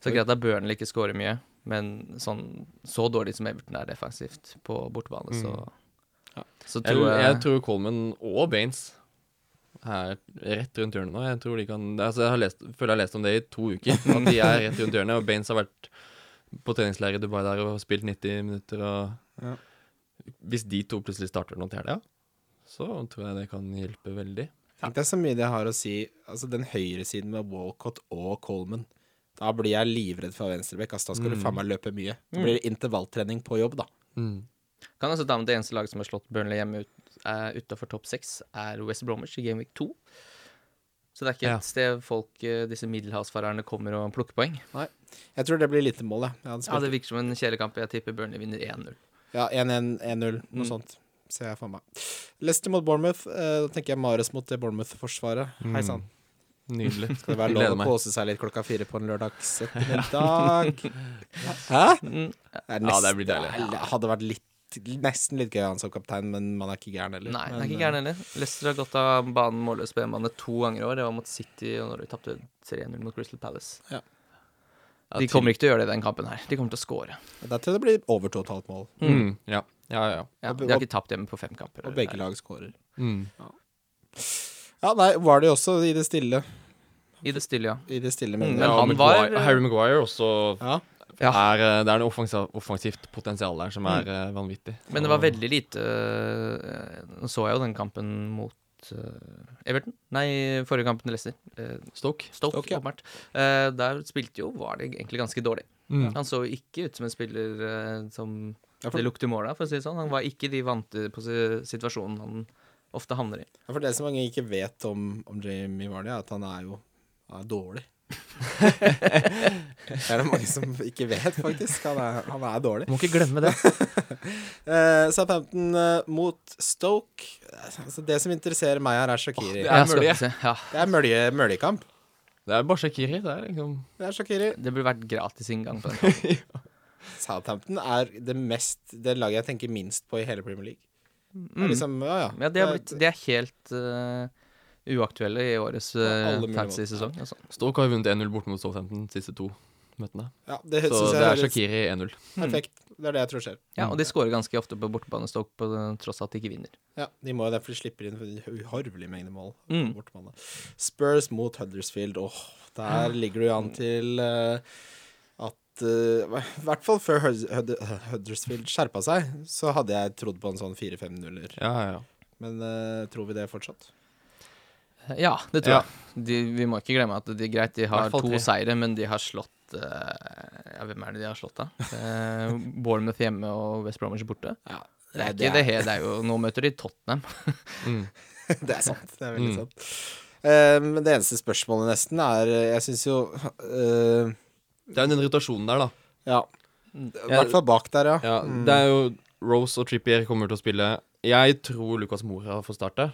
Så greit at Burnley ikke scorer mye, men sånn, så dårlig som Everton er defensivt på bortebane, så Så Jeg, tror eh, jeg, jeg tror Coleman og Baines er rett rundt hjørnet nå. Jeg tror de kan altså Jeg har lest, føler jeg har lest om det i to uker. At de er rett rundt hjørnet. Og Baines har vært på treningsleir i Dubai der og spilt 90 minutter. Og Ja. hvis de to plutselig starter nå til helga, så tror jeg det kan hjelpe veldig. Tenk deg så mye det har å si. Altså den høyresiden med Walcott og Coleman. Da blir jeg livredd for venstreback. Altså, da skal du faen meg løpe mye. Da blir det intervalltrening på jobb, da. Mm. Kan også ta med det eneste laget som har slått Burnley hjemme ut, eh, utenfor topp seks, er West Bromwich i Game Week 2. Så det er ikke Ja. et sted folk, eh, disse middelhavsfarerne, kommer og plukker poeng. Jeg tror det blir lite mål, jeg. jeg hadde Ja, spilt Det virker som en kjedekamp. Jeg tipper Burnley vinner 1-0. Ja, 1-1, 1-0, noe sånt. ser jeg for meg. Leicester mot Bournemouth. eh, Da tenker jeg Mares mot det Bournemouth-forsvaret. Hei sann. Nydelig. Skal det være Gleder lov å meg. kose seg litt klokka fire på en lørdags ettermiddag? Hæ? Det, er Ja, det nesten- blir deilig. det er- hadde vært litt Nesten litt gøy å ha han som kaptein, men man er ikke gæren heller. Nei, det er Men, ikke gæren heller. Leicester har gått av banen målløs på hjemmebane to ganger i år. Det var mot City, og når de tapte 3-0 mot Crystal Palace. Ja. De kommer ikke til å gjøre det i den kampen her. De kommer til å score. eh, Det er til det blir over to og et halvt mål, Mm. Ja. ja, ja, ja. Ja, Og- de har ikke tapt hjemme på fem kamper. og begge lag scorer. Mm. Ja, nei, var det jo også i det stille. I det stille, ja. I det stille, mener jeg. Mm, men ja, han Maguire, var- Harry Maguire også Ja. Ja. er, eh, Det er noe offensa- offensivt potensial der som er eh, vanvittig. Mm. Men det var Og- veldig lite eh, Nå så jeg jo den kampen mot eh, Everton. Nei, forrige kampen til Leicester. Eh, Stoke. Stoke, Stoke, ja. åpenbart. Eh, der spilte jo Var det egentlig ganske dårlig. Mm. Han så jo ikke ut som en spiller eh, som Ja, for- det lukter mål av, for å si det sånn. Han var ikke de vante på si- situasjonen han ofte havner i. Ja, For det som mange ikke vet om, om Jamie Vardy, er at han er jo han er dårlig. det er det mange som ikke vet, faktisk. Han er, han er dårlig. Må ikke glemme det. Eh, Southampton eh, mot Stoke. Eh, Altså, det som interesserer meg her, er Shakiri. det det, er... er- Jeg skal mulig. ikke se. Ja. mølje, møljekamp. Det er bare Shakiri. Det er liksom Det er Shakiri. Det burde vært gratis inngang på den. kampen. Southampton er det mest Det laget jeg tenker minst på i hele Premier League. Det er Mm. liksom, ja, ja. Ja, de er, blitt, Det- de er helt eh, uaktuelle i årets uh, alle mulige fantasy-sesong. Altså. Stoke har jo vunnet 1-0 borte mot Southampton de siste to møtene. ja, det Så syns det jeg er er litt Shakiri 1-0. perfekt. Det er det jeg tror skjer. Mm. Mm. Ja, og de skårer ganske ofte på bortebanestokk, på tross av at de ikke vinner. Ja, De må jo derfor slipper inn en uhorvelig mengde mål. Mm. på bortebane. Spurs mot Huddersfield. Åh, der ligger du jo an til eh, at eh, I hvert fall før Hud Hud Huddersfield skjerpa seg, så hadde jeg trodd på en sånn 4-5-0-er. Ja, ja, ja. Men eh, tror vi det fortsatt? Ja, det tror Ja. jeg. De, vi må ikke glemme at de, greit, de Hvert har fall to tre. seire, men de har slått eh, Ja, hvem er det de har slått, da? Eh, Bournemouth hjemme og West Bromwich borte? Ja, Det er ikke det he- det er jo Nå møter de Tottenham. Mm. Det er sant. Det er veldig Mm. sant. Eh, Men det eneste spørsmålet nesten er eh, Jeg syns jo eh, Det er jo den irritasjonen der, da. Ja. Mm. I hvert fall bak der, ja. Ja, Det er jo Rose og Trippier kommer til å spille. Jeg tror Lucas Mora får starte.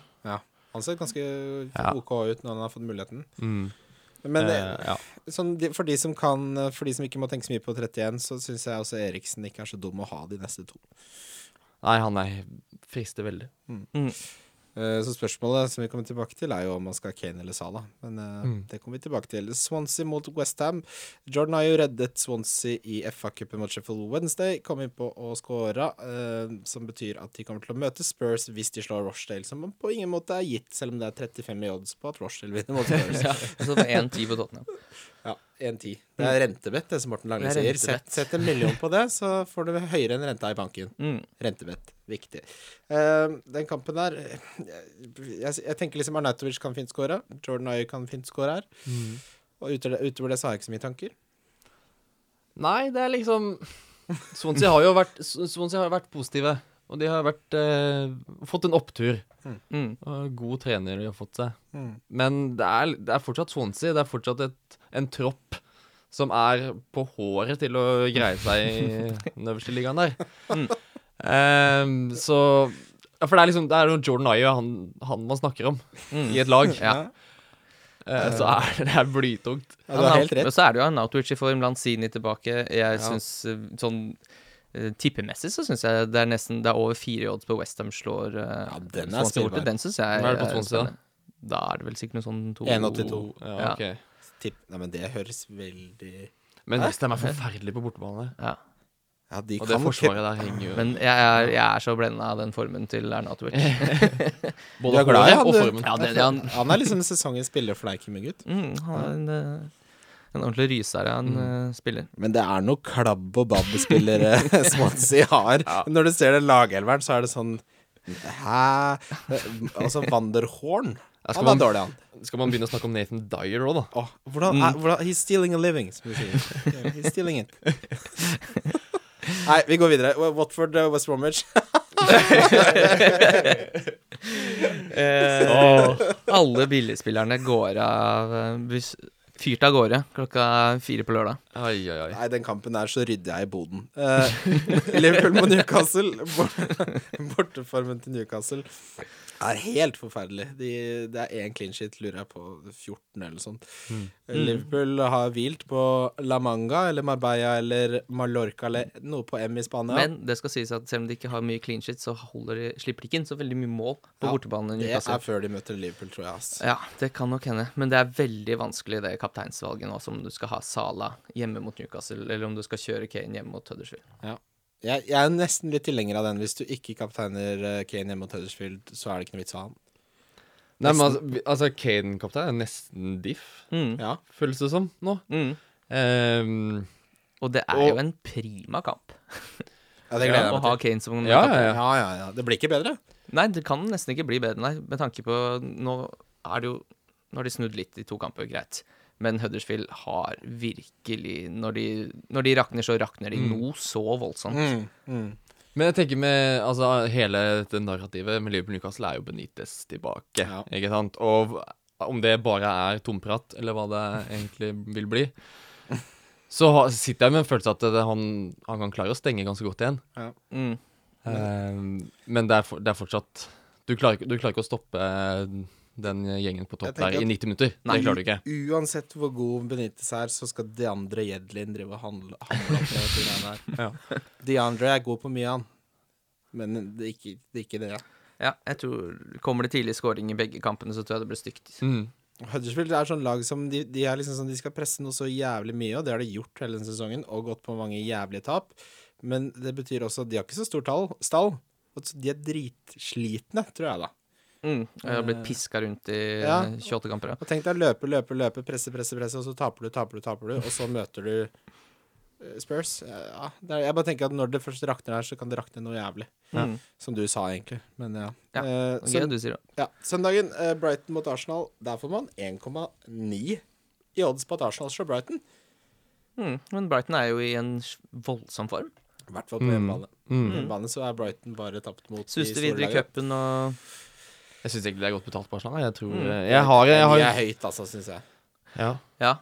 Han ser ganske Ja. OK ut når han har fått muligheten. Men Eh, eh, ja. sånn, de- for, de som kan, eh, for de som ikke må tenke så mye på 31, så syns jeg også Eriksen ikke er så dum å ha de neste to. Nei, han er frister veldig. Eh, Så spørsmålet som vi kommer tilbake til, er jo om man skal ha Kane eller Salah. Men eh, Mm. det kommer vi tilbake til. Swansea mot Westham. Jordan har jo reddet Swansea i FA-cupen mot Sheffield Wednesday. Kom innpå og skåra, eh, som betyr at de kommer til å møte Spurs hvis de slår Rochdale, som på ingen måte er gitt, selv om det er 35 i odds på at Rochdale vinner mot Spurs. Ja, så det er 1-10 på Tottenham. Ja, 1,10. Det er rentebett, det som Morten Langli Det sier. er rentebett. Sett, sett en million på det, så får du høyere enn renta i banken. Mm. Rentebett. Viktig. Eh, den kampen der eh, Jeg, jeg tenker liksom Arnautovic kan fint score. Jordan Ayer kan fint score her. Mm. Og utover det, utover det så har jeg ikke så mye tanker. Nei, det er liksom Swansea har jo vært, Swansea har jo vært positive. Og de har vært, eh, fått en opptur. Mm. Og god trener de har fått seg. Mm. Men det er, det er fortsatt Swansea. Det er fortsatt et, en tropp som er på håret til å greie seg i den øverste ligaen der. Ehm, så ja, For det er liksom Det er jo Jordan Ayew, han, han man snakker om i et lag. Eh, så er, det- det er blytungt. Ja, du har helt Men rett. så er det jo Arnautovic i form, Lanzini tilbake. Jeg synes, eh, sånn eh, tippemessig så syns jeg det er nesten Det er over fire i odds på Westham slår uh, Ja, den er spillbar. Den syns jeg Hva er det på Swansea, da? spennende. Da er det vel sikkert noe sånn to- 1,82. Ja, ok. Tipp. Nei, men det høres veldig Men Westham er forferdelig på bortebane. Ja. Ja, de Og det kan forsvaret der henger jo Men jeg er, jeg er så blenda av den formen til Arnautovic. Du er glad i han, og du. formen. Ja, det, det, han, Han er liksom sesongens spiller for deg, Kimmy gutt. mm, han er en, eh, en ordentlig ryser han eh, spiller. Men det er noe klabb og babb-spillere Swansea har. Når du ser den lagelveren, så er det sånn Hæ? Altså, Wanderhorn Ja, skal Han var man- dårlig, han. Mm. Skal man begynne å snakke om Nathan Dyer òg, da? Åh, hvordan, er, hvordan He's stealing a living, som du sier. Yeah, He's stealing it. Nei, vi går videre. Wa- Watford, eh, West Bromwich. eh, Alle billigspillerne går av eh, bus- Fyrt av gårde klokka fire på lørdag. Oi, oi, oi. Nei, den kampen der så rydder jeg i boden. Eh, Liverpool mot Newcastle. Bort- Borteformen til Newcastle er helt forferdelig. De, det er én clean sheet, lurer jeg på, 14 eller sånt. Eh, Liverpool har hvilt på La Manga eller Marbella eller Mallorca eller noe på M i Spania. Men det skal sies at selv om de ikke har mye clean shit, så holder de, slipper de ikke inn så veldig mye mål Ja, på bortebane. det Newcastle. er før de møter Liverpool, tror jeg. Ass. Ja, det kan nok hende, men det er veldig vanskelig det kapteinsvalget nå som du skal ha Sala hjemme mot Newcastle, eller om du skal kjøre Kane hjemme mot Huddersfield. Jeg, jeg er nesten litt tilhenger av den. Hvis du ikke kapteiner eh, Kane hjemme mot Huddersfield, så er det ikke noe vits å ha han. Nei, men altså, vi- altså Kane-kaptein er nesten diff, Mm. Ja. føles det som nå. Mm. Ehm, Og det er Og- jo en prima kamp ja, det gleder jeg å meg ha til. Kane som ja, ja, ja. Ja, ja, ja. Det blir ikke bedre. Nei, det kan nesten ikke bli bedre, nei, med tanke på Nå er det jo Nå har de snudd litt i to kamper, greit. Men Huddersfield har virkelig Når de, når de rakner, så rakner de noe så voldsomt. Mm, mm. Men jeg tenker med altså, hele dette narrativet med Liverpool Newcastle er jo Benitez tilbake. Ja. Ikke sant? Og om det bare er tomprat, eller hva det egentlig vil bli, så ha- sitter jeg med en følelse at det, han, han kan klare å stenge ganske godt igjen. Mm. Ehm, men det er, for, det er fortsatt du klarer, ikke- du klarer ikke å stoppe den gjengen på topp Jeg tenker der i at- 90 minutter. Nei. det klarer du ikke. Uansett hvor god Benitez er, så skal Deandre Jedlin drive og handle, handle opp det greiene der. Deandre er god på mye, han. Men det er ikke det. Er ikke det ja. Ja, jeg tror Kommer det tidlig scoring i begge kampene, så tror jeg det blir stygt. Mm. Huddersfield er sånn lag som de, de er liksom sånn, de skal presse noe så jævlig mye, og det har de gjort hele denne sesongen, og gått på mange jævlige tap. Men det betyr også at de har ikke så stor tall, stall. Og så de er dritslitne, tror jeg, da. Mm. Jeg har blitt piska rundt i Eh, Ja. 28 kamper. ja. Og tenk deg løpe, løpe, løpe, presse, presse, presse, og så taper du, taper du, taper du, og så møter du eh, Spurs. Ja, det er, jeg bare tenker at når det først rakner her, så kan det rakne noe jævlig. Ja. Som du sa, egentlig. Men ja. Ja, Eh, Gøy søn- du sier det. ja. Søndagen, eh, Brighton mot Arsenal. Der får man 1,9 i odds på at Arsenal slår Brighton. Mm. Men Brighton er jo i en s- voldsom form. I hvert fall på hjemmebane. Mm. På hjemmebane så er Brighton bare tapt mot Suste videre i cupen og Jeg syns egentlig det er godt betalt på Arsenal. Jeg tror eh, Jeg har, jeg har, De er høyt, altså, syns jeg. ja. Ja.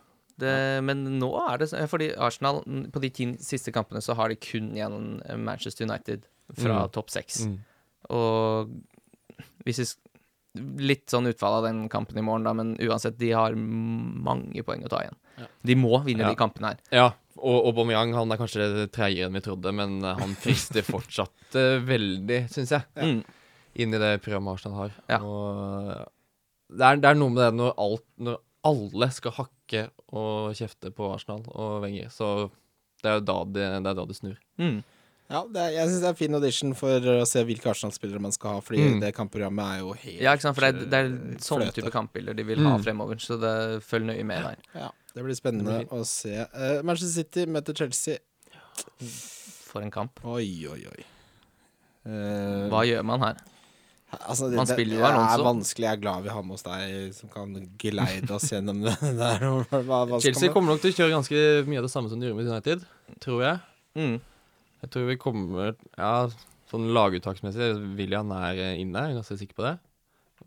Det, men nå er det så- Fordi Arsenal, mm, på de ti siste kampene, så har de kun igjen eh, Manchester United fra Mm. topp seks. Mm. Og hvis vi sk- Litt sånn utfall av den kampen i morgen, da, men uansett, de har mange poeng å ta igjen. De må vinne Ja. de kampene her. Ja, og Aubameyang han er kanskje treigere enn vi trodde, men eh, han frister fortsatt eh, veldig, syns jeg, Mm. inn i det programmet Arsenal har. Ja. Og eh, det, er, det er noe med det når, alt, når alle skal hakke og kjefte på Arsenal og Wenger, så det er jo da det, det, er da det snur. Mm. Ja, det er, jeg syns det er en fin audition for å se hvilke Arsenal-spillere man skal ha, fordi Mm. det kampprogrammet er jo helt Ja, ikke sant, for det er, det er eh, sånne fløte. type kampbilder de vil ha Mm. fremover, så det følg nøye med der. Ja, det blir spennende Det blir å se. Eh, Manchester City møter Chelsea. For en kamp. Oi, oi, oi. Eh, Mm. Hva gjør man her? altså, det, man det- spiller jo det er Alonso. vanskelig. Jeg er glad vi har med oss deg som kan geleide oss gjennom det der. og Hva, hva skal Chelsea Altså, man- kommer nok til å kjøre ganske mye av det samme som de gjorde med United, tror jeg. Mm. Jeg tror vi kommer Ja, sånn laguttaksmessig William er eh, inne, jeg er ganske sikker på det.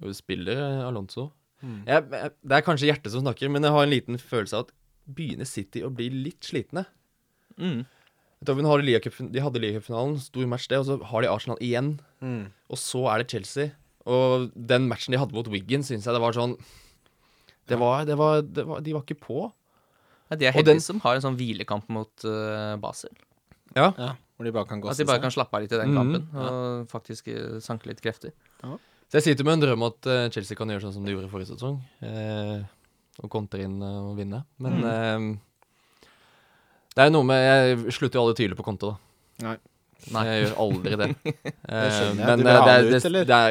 Og vi spiller eh, Alonso. Jeg, jeg, det er kanskje hjertet som snakker, men jeg har en liten følelse av at begynner City å bli litt slitne. Mm. Jeg tror vi har Liga Cup- De hadde ligacupfinalen, stor match det, og så har de Arsenal igjen. Mm. Og så er det Chelsea. Og den matchen de hadde mot Wiggin, syns jeg det var sånn det var, det var, det var, De var ikke på. Ja, de er Og heldige den- som har en sånn hvilekamp mot eh, Basel. Ja, hvor de bare kan gå At de bare kan slappe av litt i den kampen Mhm. og faktisk eh, sanke litt krefter. Så jeg sitter med en drøm om at eh, Chelsea kan gjøre sånn som de gjorde forrige sesong. eh, og kontre inn eh, og vinne. Men Mm. eh, det er noe med Jeg slutter jo aldri tidlig på konto, da. Nei. Nei. Jeg gjør aldri det. Eh, skjønner jeg. men, Du vil eh, det er- ha han ut, det- eller? Det er,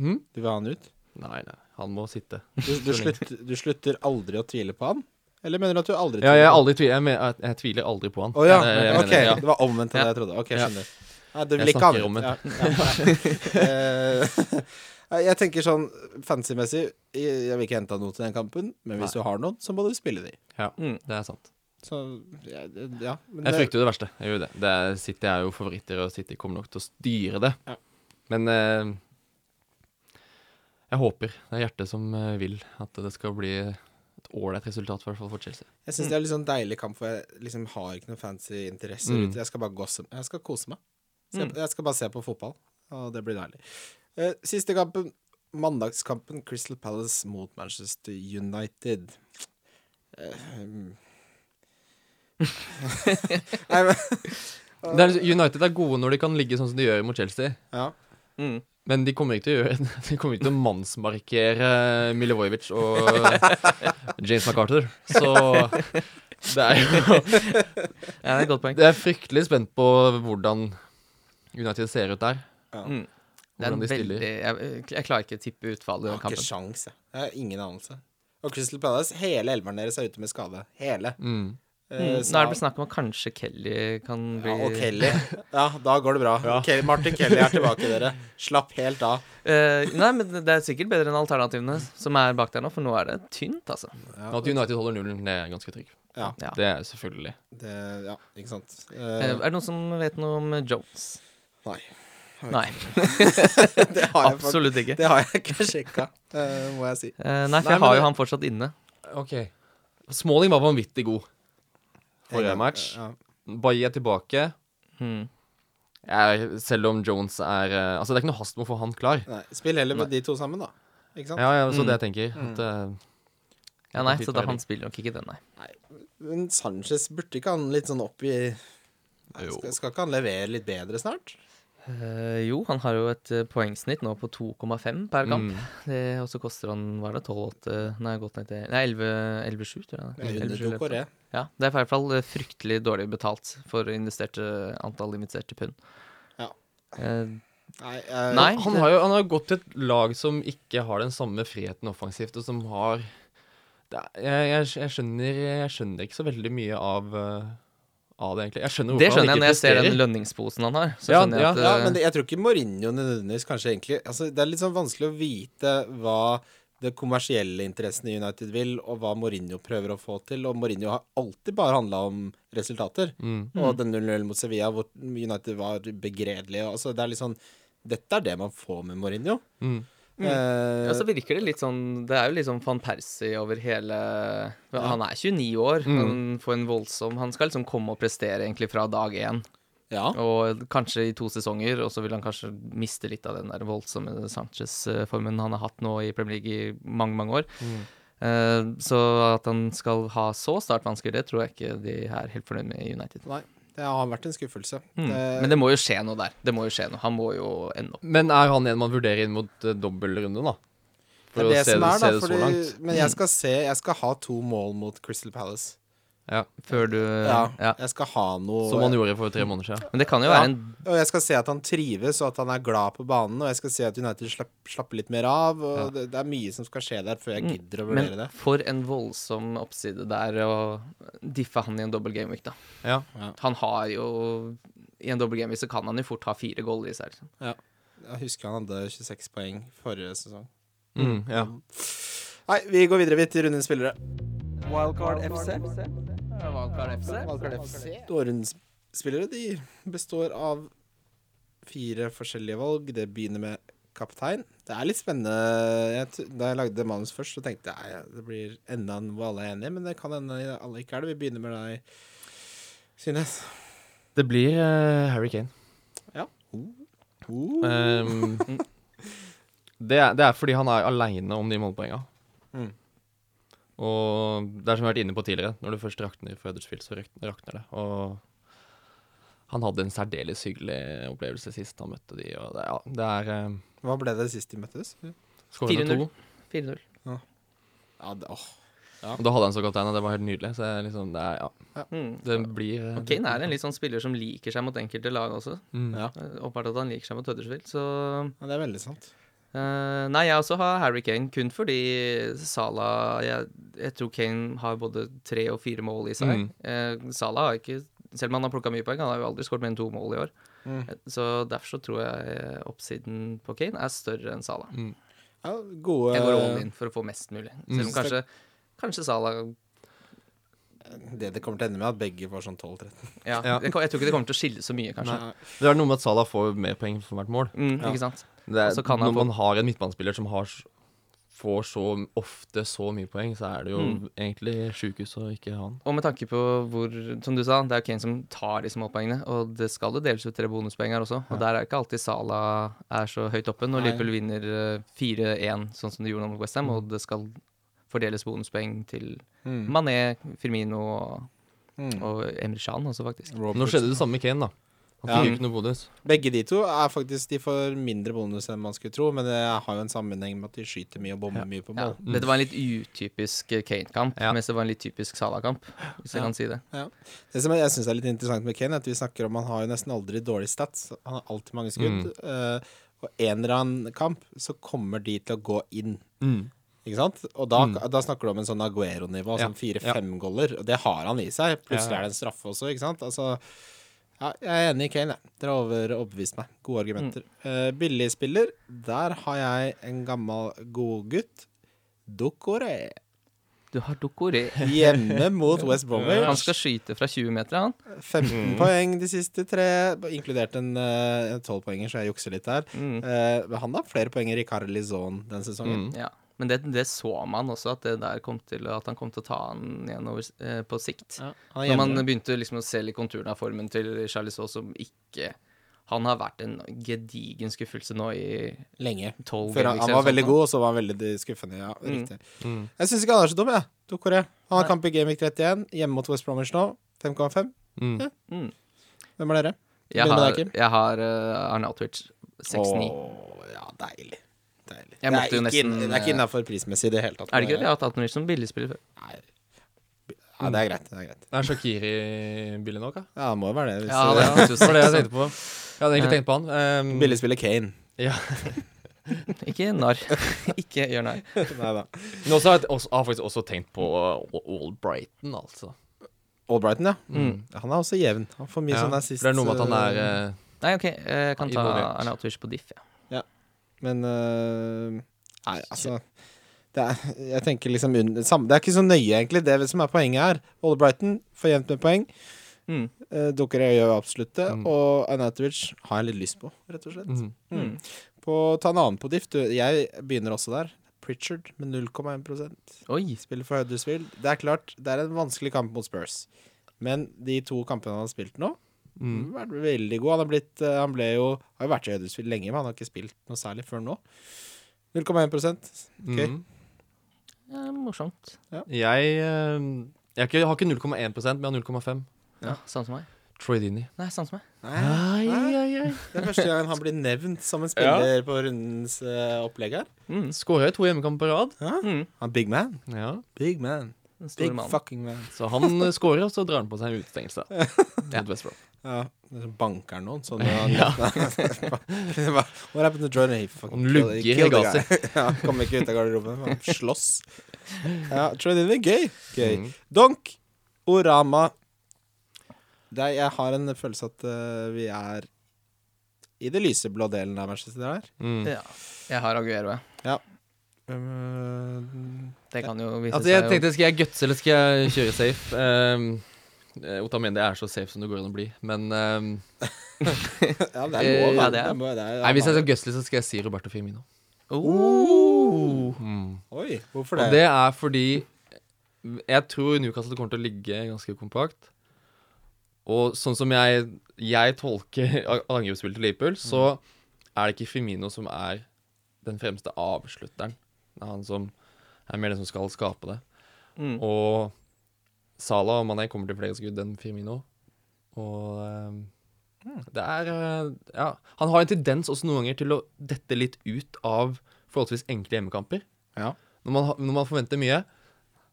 hm? Du vil ha han ut? Nei, nei. Han må sitte. Du, du, slutter, du slutter aldri å tvile på han? Eller mener du at du aldri Ja, jeg, på han? aldri tviler, jeg, men- jeg, jeg tviler aldri på han. Å ja. Det er det jeg ok, mener, ja. det var omvendt av det jeg trodde. Ok, jeg Ja. skjønner. Nei, du Jeg vil ikke ha snakker den. om Ja, ja. Eh, Jeg tenker sånn fancy-messig Jeg jeg vil ikke hente noe til den kampen, men hvis du har noen, så må du spille de. Ja, Mm. det er sant. Så ja, det- ja. men Jeg det- frykter jo det verste. Jeg gjør det. det er, City er jo favoritter, og City kommer nok til å styre det. Ja. Men eh, eh, jeg håper. Det er hjertet som eh, vil at det skal bli et et ålreit resultat, i hvert fall for Chelsea. Jeg syns det er litt sånn deilig kamp, for jeg liksom har ikke noen fancy interesser Mm. ute. Jeg skal bare gosse, jeg skal kose meg. Se, Mm. på- Jeg skal bare se på fotball, og det blir deilig. Eh, siste kampen, mandagskampen, Crystal Palace mot Manchester United. Eh, mm. Nei, men Det er, United er gode når de kan ligge sånn som de gjør mot Chelsea. Ja. Mm. Men de kommer ikke til å gjøre De kommer ikke til å mannsmarkere Milivojevic og James McArthur. Så det er jo Ja, det er et godt poeng. Jeg er fryktelig spent på hvordan United ser ut der. Mm. Det er Hvordan en de veldig, stiller. jeg, eh, jeg klarer ikke å tippe utfallet i Jeg den har Ah, ikke kampen. sjans, jeg. Jeg har ingen anelse. Og Crystal Palace, hele elveren deres er ute med skade. Hele. Mm. Eh, Mm. Nå så- er det vel snakk om at kanskje Kelly kan bli ja, og Kelly. Ja, da går det bra. Kelly, Martin Kelly er tilbake, dere. Slapp helt av. Eh, Nei, men det er sikkert bedre enn alternativene som er bak der nå, for nå er det tynt, altså. Ja. Men At United holder nullen, det er ganske trygg. Ja. Ja. Det er selvfølgelig. Det, ja, ikke sant. Eh, Eh, Er det noen som vet noe om Jones? nei. Har jeg Nei, Det har jeg, faktisk- absolutt ikke. det har jeg ikke sjekka, eh, må jeg si. Eh, Nei, for Nei, jeg men har det- jo han fortsatt inne. Ok Smalling var vanvittig god forrige Ja, match. Ja, Bailly er tilbake. Mm. Jeg, selv om Jones er eh, Altså, det er ikke noe hast med å få han klar. nei. Spill heller med de to sammen, da. Ikke sant? Ja, ja, så Mm. det jeg tenker. At, eh, Ja, nei, så da han spiller nok ikke den, nei. Men Sanchez burde ikke han litt sånn opp i Nei, Jo. skal, skal ikke han levere litt bedre snart? Eh, jo, han har jo et eh, poengsnitt nå på 2,5 per kamp. Mm. Det, og så koster han, hva er det, 12,8 Nei, gått ned til Nei, 11 11,7, tror jeg. det er. Under 11,7 to løpet. Kåre. Ja, det er i hvert fall eh, fryktelig dårlig betalt for investerte, antall investerte pund. Ja. Eh, Nei, eh, Nei. Han det- har jo han har jo gått til et lag som ikke har den samme friheten offensivt, og som har det er, jeg, jeg, jeg, skjønner, jeg skjønner ikke så veldig mye av, eh, av det, egentlig. Jeg skjønner hvorfor han det skjønner jeg ikke når jeg ser presterer. den lønningsposen han har. Så Ja, skjønner jeg at Ja, eh, men det, jeg tror ikke Mourinho nødvendigvis kanskje egentlig altså, Det er litt sånn vanskelig å vite hva det kommersielle interessen i United vil, og hva Mourinho prøver å få til. Og Mourinho har alltid bare handla om resultater. Mm. Og den 0-0 mot Sevilla, hvor United var begredelige altså, Det er litt sånn Dette er det man får med Mourinho. Mm. Ja, Eh, så virker det litt sånn Det er jo litt sånn van Persie over hele Han er 29 år. Mm. Han får en voldsom Han skal liksom komme og prestere egentlig fra dag én. ja. Og kanskje i to sesonger, og så vil han kanskje miste litt av den der voldsomme Sanchez-formen han har hatt nå i Premier League i mange, mange år. Mm. Eh, Så at han skal ha så startvansker, det tror jeg ikke de er helt fornøyd med i United. Nei. Det har vært en skuffelse. Mm. Mm. Eh, Men det må jo skje noe der. Det må jo skje noe. Han må jo ende opp. Men er han en man vurderer inn mot uh, dobbeltrunde, da? det er det som er, da. se det så Fordi, langt. Mm. men jeg skal se Jeg skal ha to mål mot Crystal Palace. Ja, Før du Ja. ja. Jeg skal ha noe som han gjorde for tre måneder siden. Men det kan jo Ja. være en Og jeg skal se at han trives, og at han er glad på banen. Og jeg skal se at United slapp, slapper litt mer av. Og det, det er mye som skal skje der før jeg Mm, gidder å vurdere Men det. for en voldsom oppside der å diffe han i en dobbel gameweek, da. Ja. Han har jo I en dobbel gameweek så kan han jo fort ha fire goller i seg. liksom. Jeg husker han hadde 26 poeng forrige sesong. Mm, ja. Nei, vi går videre vidt til rundens spillere. Wildcard FC. Og rundens spillere de består av fire forskjellige valg. Det begynner med kaptein. Det er litt spennende. Jeg, t- da jeg lagde manus først, så tenkte jeg "Nei, det blir enda en hvor alle er enige, men det kan hende alle ikke er det. Vi begynner med deg, Synnes. Det blir eh, Harry Kane. Eh. Uh. Ehm, det, er, det er fordi han er aleine om de målpoenga. Mm. Og det er som jeg har vært inne på tidligere, når det først rakner for Huddersfield, så rak- rakner det. Og han hadde en særdeles hyggelig opplevelse sist han møtte de, og det, ja, det er ehm, Hva ble det sist de møttes? skåret med 4-0. to. 4-0. Ja, det, åh. Og da hadde han så kaptein, og det var helt nydelig. Så jeg liksom, det er, ja, Mm. det blir eh, Og Kane er en litt sånn spiller som liker seg mot enkelte lag også. Mm. Ja. Eh, Åpenbart at han liker seg mot Huddersfield, så Ja, det er veldig sant. eh, Nei, jeg også har Harry Kane, kun fordi Salah jeg, jeg tror Kane har både tre og fire mål i seg. Mm. Eh, Salah har ikke Selv om han har plukka mye poeng, han har jo aldri skåret mer enn to mål i år. Eh, Mm. Så derfor så tror jeg eh, oppsiden på Kane er større enn Salah. Ja, Eh, gode Jeg går all in for å få mest mulig. Selv om Mm. kanskje, kanskje Salah Det det kommer til å ende med, er at begge får sånn 12-13. ja, Ja. Jeg, jeg tror ikke det kommer til å skille så mye, kanskje. Det er noe med at Salah får mer poeng for hvert mål. Mm, Ja. Ikke sant? Det er, Og så kan han når få- man har en midtbanespiller som har s- får så ofte så mye poeng, så er det jo egentlig sjukehus å ikke ha han. Og med tanke på hvor, som du sa, det er jo Kane som tar de småpoengene. Og det skal jo deles ut tre bonuspoeng her også. Og der er ikke alltid Sala er så høyt oppe. Når Liverpool vinner eh, 4-1, sånn som de gjorde nå mot Westham, og det skal fordeles bonuspoeng til Mané, Firmino og, Mm. og Emre Can også, faktisk. Nå skjedde det samme med Kane, da. Han fikk Ja. jo ikke noe bonus. Begge de to er faktisk De får mindre bonus enn man skulle tro, men det har jo en sammenheng med at de skyter mye og bomber mye på Ja. mål. Dette var en litt utypisk eh, Kane-kamp, Ja. mens det var en litt typisk Sala-kamp, hvis jeg kan si det. Det som jeg syns er litt interessant med Kane, er at vi snakker om han har jo nesten aldri dårlig stats. Han har alltid mange skudd. eh, og en eller annen kamp så kommer de til å gå inn. Ikke sant? Og da, da snakker du om en sånn Aguero-nivå, Ja. sånn fire-fem goller. Og det har han i seg. Plutselig er det en straffe også, ikke sant? Altså ja, jeg er enig i Kane. jeg. Dere har over- overbevist meg. Gode argumenter. Eh, Billigspiller, der har jeg en gammel godgutt. Dokore. Du har Dokore. Hjemme mot West Bromwich. Han skal skyte fra 20 meter, han. 15 Mm. poeng de siste tre, inkludert en eh, en 12-poenger, så jeg jukser litt der. Mm. Eh, men han har flere poeng i Ricard Lizon den sesongen. Ja, men det, det så man også, at, det der kom til, at han kom til å ta han igjen over, eh, på sikt. Han er Når man hjemme. begynte liksom å se litt konturene av formen til Charlize Aas, som ikke Han har vært en gedigen skuffelse nå i lenge. tolv Før han, han var veldig god, og så var han veldig skuffende. Ja, Mm. riktig. Jeg syns ikke han er så dum, jeg. Dokore. Han har kamp i Game Week 31, hjemme mot West Bromwich nå. 5,5. Mm. Ja. Mm. Hvem er dere? Jeg Begynn med deg, har, Kim. jeg har eh, Arne Altwich 6-9. Åh, ja, deilig. deilig. Jeg det, er måtte jo ikke, nesten, inn- det er ikke innafor prismessig i det hele tatt. Er det ikke det? Jeg har tatt Norwich som billigspiller før. Nei. Ja, det er greit. Det er greit. Er Shakiri billig nok, da? Ja, det må jo være det. Hvis det Ja, det Ja, det var det jeg tenkte på. Jeg hadde egentlig tenkt på han. ehm, Billig spiller Kane. ja. Ikke narr. ikke gjør narr. Nei da. Men også har jeg også, har faktisk også tenkt på uh, All Brighton, altså. Albrighton, ja. Mm. Han er også jevn. Han får mye Ja, sånn for assist. det er noe med at han er øh, eh, Nei, OK, jeg kan ta Involvert. Arne Altwich på diff, ja. Men øh, Nei, altså det er, jeg tenker liksom under, sam, Det er ikke så nøye, egentlig, det som er poenget her. Albrighton får jevnt med poeng. Mm. Eh, Dukkerøy gjør absolutt det. Mm. Og Anatovic har jeg litt lyst på, rett og slett. mm. Mm. På, ta en annen på diff. Du, jeg begynner også der. Pritchard med 0,1 Oi. Spiller for Huddersfield. Det er klart, det er en vanskelig kamp mot Spurs. Men de to kampene han har spilt nå, Mm. vært veldig god. Han, har blitt, eh, han ble jo, har jo vært i Huddersfield lenge, men han har ikke spilt noe særlig før nå. 0,1 Ok. Mm. Ja, morsomt. Jeg, ehm, jeg har ikke- har ikke 0,1 men jeg har 0,5. Ja, Samme som meg. Troy Dini. Nei, samme som meg. Det er første gang han blir nevnt som en spiller på rundens eh, opplegg her. Skåra jo to hjemmekamper på rad. Mm. Han er big man. Ja. Big man. Den store Big mannen. fucking man. Så han eh, skårer, og så drar han på seg en utestengelse. Mot West Brom. Ja, det er sånn banker noen sånn han, What happened to Jordan He fucking Han killed- lugger he killed the i gasser. guy. ja, Kommer ikke ut av garderoben, han slåss. Ja, Troy Dini, gøy. gøy. Mm. Donk, Orama det er, Jeg har en følelse at eh, vi er i det lyseblå delen av Manchester der. Mm. Ja. Jeg har Aguero, jeg. eh, Um, Det kan jo vise Altså, jeg seg. tenkte, skal jeg gutse, eller skal jeg kjøre safe? Ehm, eh, Otamendi er så safe som det går an å bli, men ehm, ja, det er lov. Eh, ja, det det er- må- det er- nei, hvis jeg skal gutsle, så skal jeg si Roberto Firmino. Mm. Oh. Oi, hvorfor Og det? det er fordi jeg tror Newcastle kommer til å ligge ganske kompakt. Og sånn som jeg, jeg tolker a- angrepsspillet til Liverpool, så er det ikke Firmino som er den fremste avslutteren. Det er han som er mer den som skal skape det. Mm. Og Salah og Mané kommer til flere skudd enn Firmino. Og ehm, det er eh, Ja. Han har en tendens også noen ganger til å dette litt ut av forholdsvis enkle hjemmekamper. Ja. Når man, ha- når man forventer mye,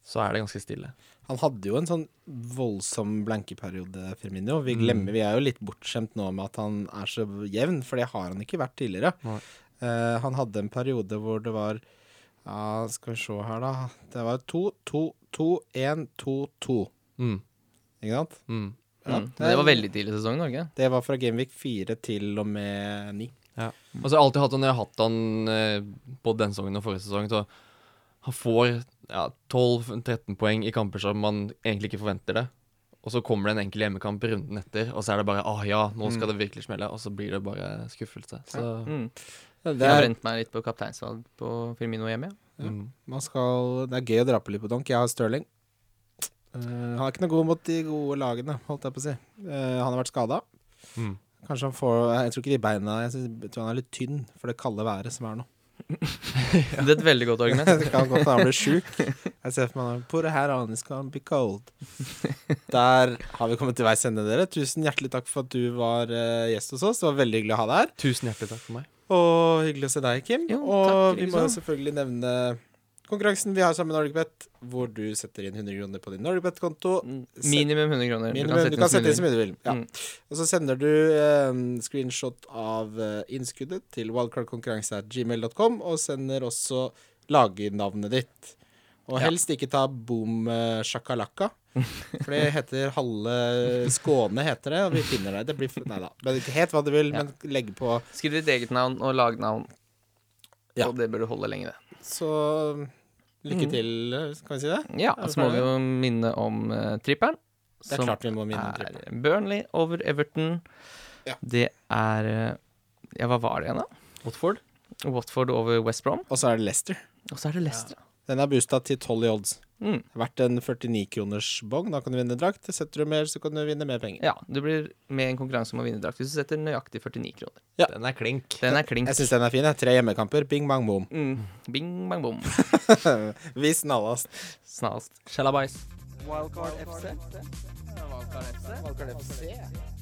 så er det ganske stille. Han hadde jo en sånn voldsom blankeperiode, Firmino. Mm. Vi glemmer, vi er jo litt bortskjemt nå med at han er så jevn, for det har han ikke vært tidligere. Nei. Eh, han hadde en periode hvor det var ja, Skal vi se her, da. Det var 2, 2, 2, 1, 2, 2. Mm, Ikke sant? mm. Ja. Mm. Men Det var veldig tidlig i sesongen, var det ikke? Det var fra Gameweek 4 til og med 9. Og så har Altså, jeg alltid hatt han, jeg har hatt han eh, både denne sesongen og forrige sesong, så han får ja, 12-13 poeng i kamper som man egentlig ikke forventer det. Og så kommer det en enkel hjemmekamp runden etter, og så er det bare ah ja, nå skal det virkelig smelle, og så blir det bare skuffelse. Så Mm. Det Jeg har er, brent meg litt på kapteinsvalg på Firmino hjemme. ja. Man skal, det er gøy å dra på litt på donk. Jeg har Stirling. Eh, han er ikke noe god mot de gode lagene, holdt jeg på å si. Eh, han har vært skada. Mm. Kanskje han får Jeg tror ikke de beina Jeg, synes, jeg tror han er litt tynn for det kalde været som er nå. Det er et veldig godt argument. det kan godt hende han blir sjuk. Jeg ser for meg han Poor hair on is gonna be cold. Der har vi kommet til veis ende, dere. Tusen hjertelig takk for at du var eh, gjest hos oss. Det var veldig hyggelig å ha deg her. Tusen hjertelig takk for meg. Og hyggelig å se deg, Kim. Jo, og takk, liksom. vi like må jo så. selvfølgelig nevne konkurransen vi har sammen med NordicBet, hvor du setter inn 100 kroner på din NordicBet-konto. Mm. Sett- Minimum 100 kroner. Minimum, du kan sette inn så mye du vil. Ja. Mm. Og så sender du eh, screenshot av eh, innskuddet til wildcardkonkurranse.gmail.com, og sender også lagernavnet ditt. Og Ja. helst ikke ta boom eh, shakalaka, for det heter halve Skåne, heter det, og vi finner deg. Det blir Nei da. Men ikke helt hva du vil, Ja. men legg på Skriv ditt eget navn og lagnavn. Ja. Og det burde holde lenge, det. Så Mm. lykke til, kan vi si det? Ja, Er vi Så må ferdige? vi jo minne om uh, tripperen. Det er som klart vi må minne om er tripperen. Burnley over Everton. Ja. Det er eh, Ja, hva var det igjen, da? Watford? Watford over West Brom. Og så er det Lester. Og så er det Leicester. Den er boosta til 12 i odds. Mm. Verdt en 49-kroners bong. Da kan du vinne drakt. Setter du mer, så kan du vinne mer penger. Ja, du blir med i en konkurranse om å vinne drakt hvis du setter nøyaktig 49 kroner. Den er klink. Den er klink. Jeg syns den er fin. jeg. Tre hjemmekamper. Bing, bang, boom. Mm. Bing, bang, bom. Vi snallas. Snarest. Shalabais. Wildcard FC. Wildcard FC.